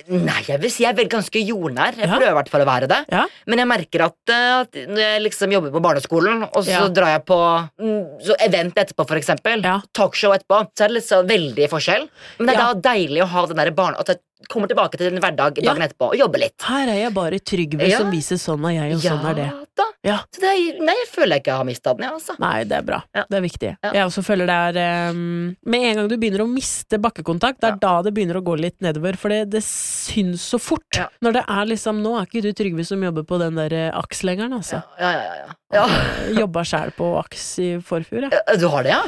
S3: nei, jeg vil si jeg er vel ganske jordnær. Jeg
S2: Ja.
S3: prøver i hvert fall å være det.
S2: Ja.
S3: Men jeg merker at, eh, at når jeg liksom jobber på barneskolen, og så
S2: Ja.
S3: drar jeg på mm, så event etterpå, for eksempel,
S2: Ja.
S3: talkshow etterpå, så er det liksom veldig forskjell. Men det er
S2: Ja.
S3: da deilig å ha den der barne... At jeg kommer tilbake til en hverdag
S2: Ja.
S3: dagen etterpå og jobber litt.
S2: Her er jeg bare Trygve
S3: Ja.
S2: som viser sånn er jeg, og sånn er det.
S3: da.
S2: Ja.
S3: Så det er, nei, jeg føler jeg ikke har mista den, jeg, altså.
S2: Nei, det er bra.
S3: Ja.
S2: Det er viktig.
S3: Ja.
S2: Jeg også føler det er ehm, Med en gang du begynner å miste bakkekontakt, det er da det begynner å gå litt nedover, for det, det syns så fort.
S3: Ja.
S2: Når det er liksom Nå er ikke du Trygve som jobber på den der eh, akslengeren, altså.
S3: Ja, ja, ja. ja.
S2: Jobba sjæl på aks i forfjor, jeg.
S3: ja. Du har det, ja?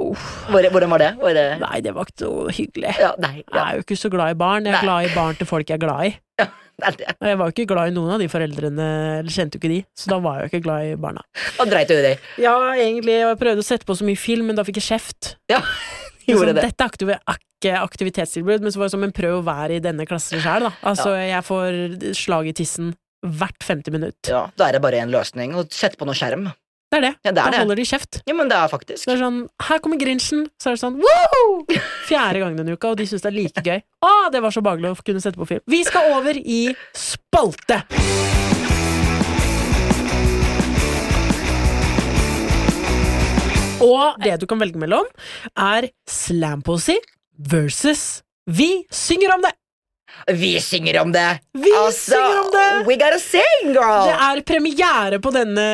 S2: Uff.
S3: Hvor, hvordan var det? Var det...
S2: Nei, det var ikke noe hyggelig.
S3: Ja, nei, ja.
S2: Jeg er jo ikke så glad i barn. Jeg er
S3: Nei.
S2: glad i barn til folk jeg er glad i.
S3: det er det.
S2: Og jeg var jo ikke glad i noen av de foreldrene, eller kjente jo ikke de, så da var jeg jo ikke glad i barna.
S3: Da dreit du i det.
S2: Ja, egentlig, jeg prøvde å sette på så mye film, men da fikk jeg kjeft.
S3: Ja, gjorde
S2: sånn,
S3: det.
S2: Dette er aktiv ikke aktivitetstilbud, men så var det som en prøv å være i denne klassen sjøl, da. Altså, jeg får slag i tissen hvert femte minutt.
S3: Ja, da er det bare en løsning. Å sette på noe skjerm.
S2: Det er det.
S3: Ja, det er
S2: da
S3: det.
S2: holder de kjeft.
S3: Ja, men det er faktisk.
S2: Det er sånn, Her kommer Grinchen! Så er det sånn wow! Fjerde gangen denne uka, og de syns det er like gøy. Å, det var så behagelig å kunne sette på film. Vi skal over i spalte! Og det du kan velge mellom, er slamposy versus Vi synger om det!
S3: Vi synger om det! Altså,
S2: Vi synger om det!
S3: We gotta sing, girl!
S2: Det er premiere på denne,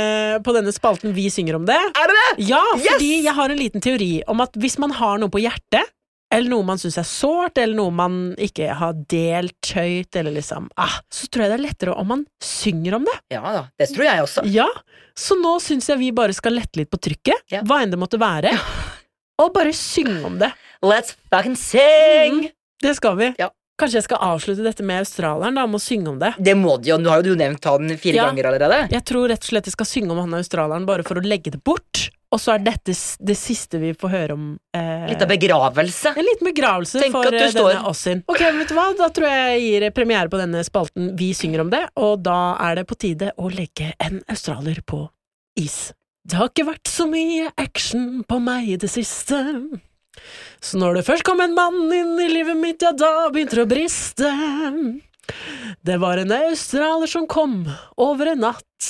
S2: på denne spalten Vi synger om det.
S3: er det det?
S2: Ja,
S3: Yes!
S2: fordi jeg har en liten teori om at hvis man har noe på hjertet, eller noe man syns er sårt, eller noe man ikke har delt høyt, eller liksom ah, Så tror jeg det er lettere om man synger om det.
S3: Ja da, det tror jeg også.
S2: Ja, Så nå syns jeg vi bare skal lette litt på trykket,
S3: Ja.
S2: hva enn det måtte være, og bare synge om det.
S3: Let's fucking sing!
S2: Det skal vi.
S3: Ja.
S2: Kanskje jeg skal avslutte dette med australieren, da, med å synge om det.
S3: Det må du jo, nå har jo du nevnt han fire
S2: Ja.
S3: ganger allerede.
S2: Jeg tror rett og slett jeg skal synge om han australieren bare for å legge det bort, og så er dette s- det siste vi får høre om. Eh,
S3: Litt av begravelse.
S2: En liten begravelse
S3: Tenk
S2: for
S3: at du
S2: eh,
S3: står-
S2: denne Åssin. Ok, men vet du hva? Da tror jeg jeg gir eh, premiere på denne spalten Vi synger om det, og da er det på tide å legge en australier på is. Det har ikke vært så mye action på meg i det siste. Så når det først kom en mann inn i livet mitt, ja, da begynte det å briste. Det var en australier som kom over en natt,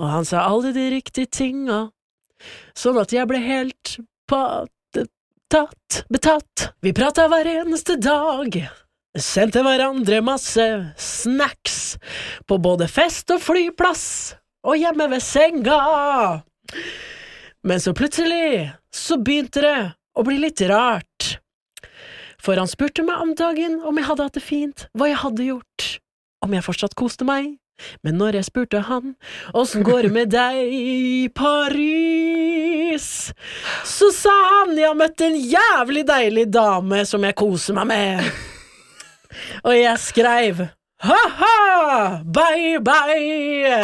S2: og han sa alle de riktige tinga, sånn at jeg ble helt patatt, betatt. Vi prata hver eneste dag. Sendte hverandre masse snacks på både fest og flyplass og hjemme ved senga. Men så plutselig så begynte det å bli litt rart. For han spurte meg om dagen om jeg hadde hatt det fint, hva jeg hadde gjort, om jeg fortsatt koste meg. Men når jeg spurte han åssen går det med deg i Paris, så sa han jeg har møtt en jævlig deilig dame som jeg koser meg med. Og jeg skreiv ha-ha, bye bye.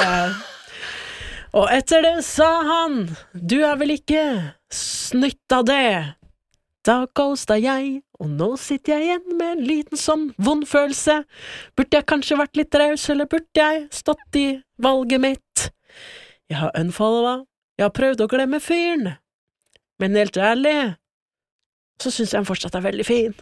S2: Og etter det sa han, du er vel ikke snytt av det. Da ghosta jeg, og nå sitter jeg igjen med en liten sånn vond følelse. Burde jeg kanskje vært litt raus, eller burde jeg stått i valget mitt? Jeg har unfollowa, jeg har prøvd å glemme fyren, men helt ærlig, så syns jeg han fortsatt er veldig fin.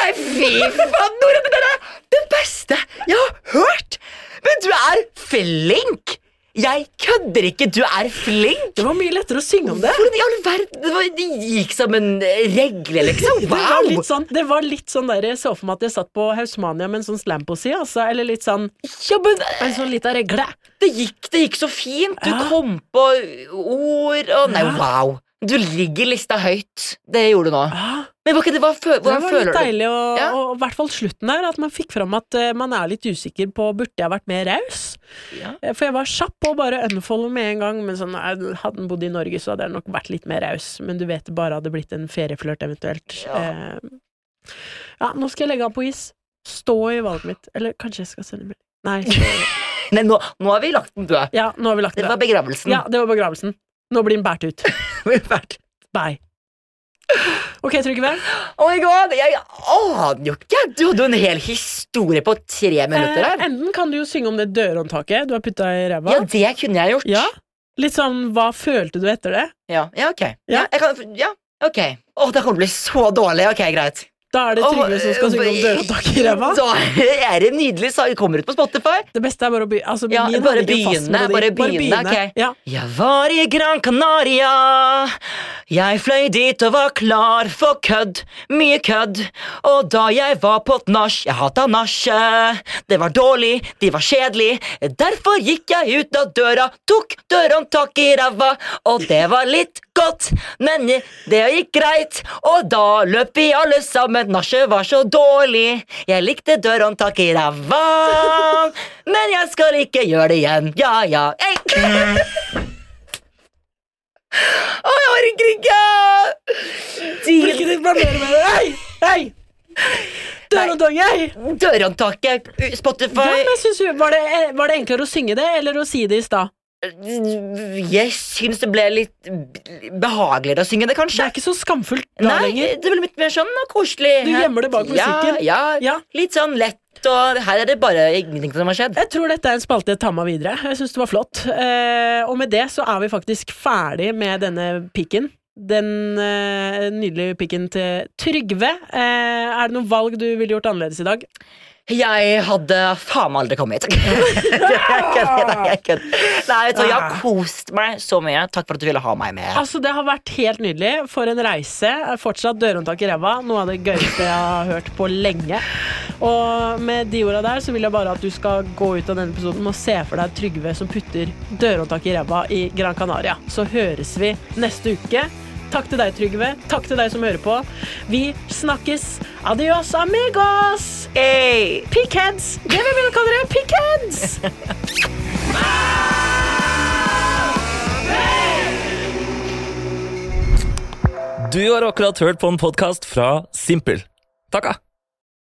S3: Nei, fy faen, Nora, det der er det beste jeg har hørt! Men du er flink! Jeg kødder ikke, du er flink!
S2: Det var mye lettere å synge om det.
S3: Hvordan i all verden det var- Det gikk som en regle, liksom.
S2: Det var
S3: Wow!
S2: litt sånn, det var litt sånn der, Jeg så for meg at jeg satt på Hausmania med en sånn slampoesi. Altså, eller litt sånn
S3: Ja, men
S2: En sånn lita regle.
S3: det gikk, det gikk så fint. Du
S2: Ja.
S3: kom på ord og Nei,
S2: Ja.
S3: wow. Du ligger lista høyt. Det gjorde du nå.
S2: Ja,
S3: Men var ikke det, hva, fø-
S2: det var
S3: hvordan
S2: litt
S3: føler du?
S2: deilig, og,
S3: Ja.
S2: og i hvert fall slutten der. At man fikk fram at eh, man er litt usikker på Burde jeg vært mer raus.
S3: Ja.
S2: Eh, For jeg var kjapp og bare unfollow med en gang. Men sånn, eh, hadde den bodd i Norge, så hadde jeg nok vært litt mer raus. Men du vet det bare hadde blitt en ferieflørt, eventuelt.
S3: Ja.
S2: Eh, ja, nå skal jeg legge han på is. Stå i valget mitt. Eller kanskje jeg skal sende melding. Nei.
S3: Nei, nå, nå har vi lagt den død.
S2: Ja, nå har vi lagt
S3: Det var begravelsen.
S2: Ja, det var begravelsen. Nå blir den båret ut. Bye. Ok, Trygve.
S3: Oh my god, Jeg aner jo ikke! Du hadde jo en hel historie på tre minutter
S2: Eh,
S3: her.
S2: enten kan du jo synge om det dørhåndtaket du har putta i ræva.
S3: Ja, det kunne jeg gjort.
S2: Ja. Litt sånn hva følte du etter det?
S3: Ja, ja, ok.
S2: Ja.
S3: Ja, jeg kan, ja, ok. Å, det kommer til å bli så dårlig. Ok, greit.
S2: Da er det Trygve som skal synge om dørhåndtaket i ræva.
S3: eh, Da er det nydelig. Så det kommer ut på Spotify.
S2: Det beste er bare å begynne. Altså,
S3: Ja,
S2: min
S3: bare
S2: hadde ikke fast
S3: begynne,
S2: melodi.
S3: bare begynne, ok.
S2: Ja.
S3: Jeg var i Gran Canaria. Jeg fløy dit og var klar for kødd, mye kødd. Og da jeg var på et nach, jeg hata nachet. Det var dårlig, de var kjedelig. Derfor gikk jeg ut av døra, tok dørhåndtak i ræva. Og det var litt godt, men det gikk greit. Og da løp vi alle sammen, nachet var så dårlig. Jeg likte dørhåndtak i ræva, men jeg skal ikke gjøre det igjen. Ja, ja. Hey. Å, jeg orker ikke!
S2: Ikke ditt problem med det. Hei! Hei! Dørhåndtaket!
S3: Dørhåndtaket, eh,
S2: Ja,
S3: Spotify
S2: men jeg synes, jo- var, det, eh, var det enklere å synge det eller å si det i stad?
S3: Jeg syns det ble litt behageligere å synge det,
S2: Det
S3: kanskje.
S2: er ikke så skamfullt da
S3: Nei,
S2: lenger.
S3: det ble litt mer sånn og koselig.
S2: Du gjemmer det bak musikken.
S3: Ja, ja,
S2: Ja.
S3: Litt sånn lett, og her er det bare ingenting som har skjedd.
S2: Jeg tror dette er en spalte jeg tar med videre. Jeg synes det var flott. Eh, og med det så er vi faktisk ferdig med denne pikken. Den eh, nydelige pikken til Trygve. Eh, er det noen valg du ville gjort annerledes i dag?
S3: Jeg hadde faen meg aldri kommet hit. Jeg kødder, nei, jeg kødder. Nei, vet du, hva, jeg
S2: Ah.
S3: har kost meg så mye. Takk for at du ville ha meg med.
S2: Altså, Det har vært helt nydelig. For en reise. Er Fortsatt dørhåndtak i ræva. Noe av det gøyeste jeg har hørt på lenge. Og med de orda der så vil jeg bare at du skal gå ut av denne episoden og se for deg Trygve som putter dørhåndtak i ræva i Gran Canaria. Så høres vi neste uke. Takk til deg, Trygve. Takk til deg som hører på. Vi snakkes. Adios amigos!
S3: Hey.
S2: Pickheads! Det vi vil kalle dere. Pickheads!
S1: Du har akkurat hørt på en podkast fra Simpel. ah. Takka!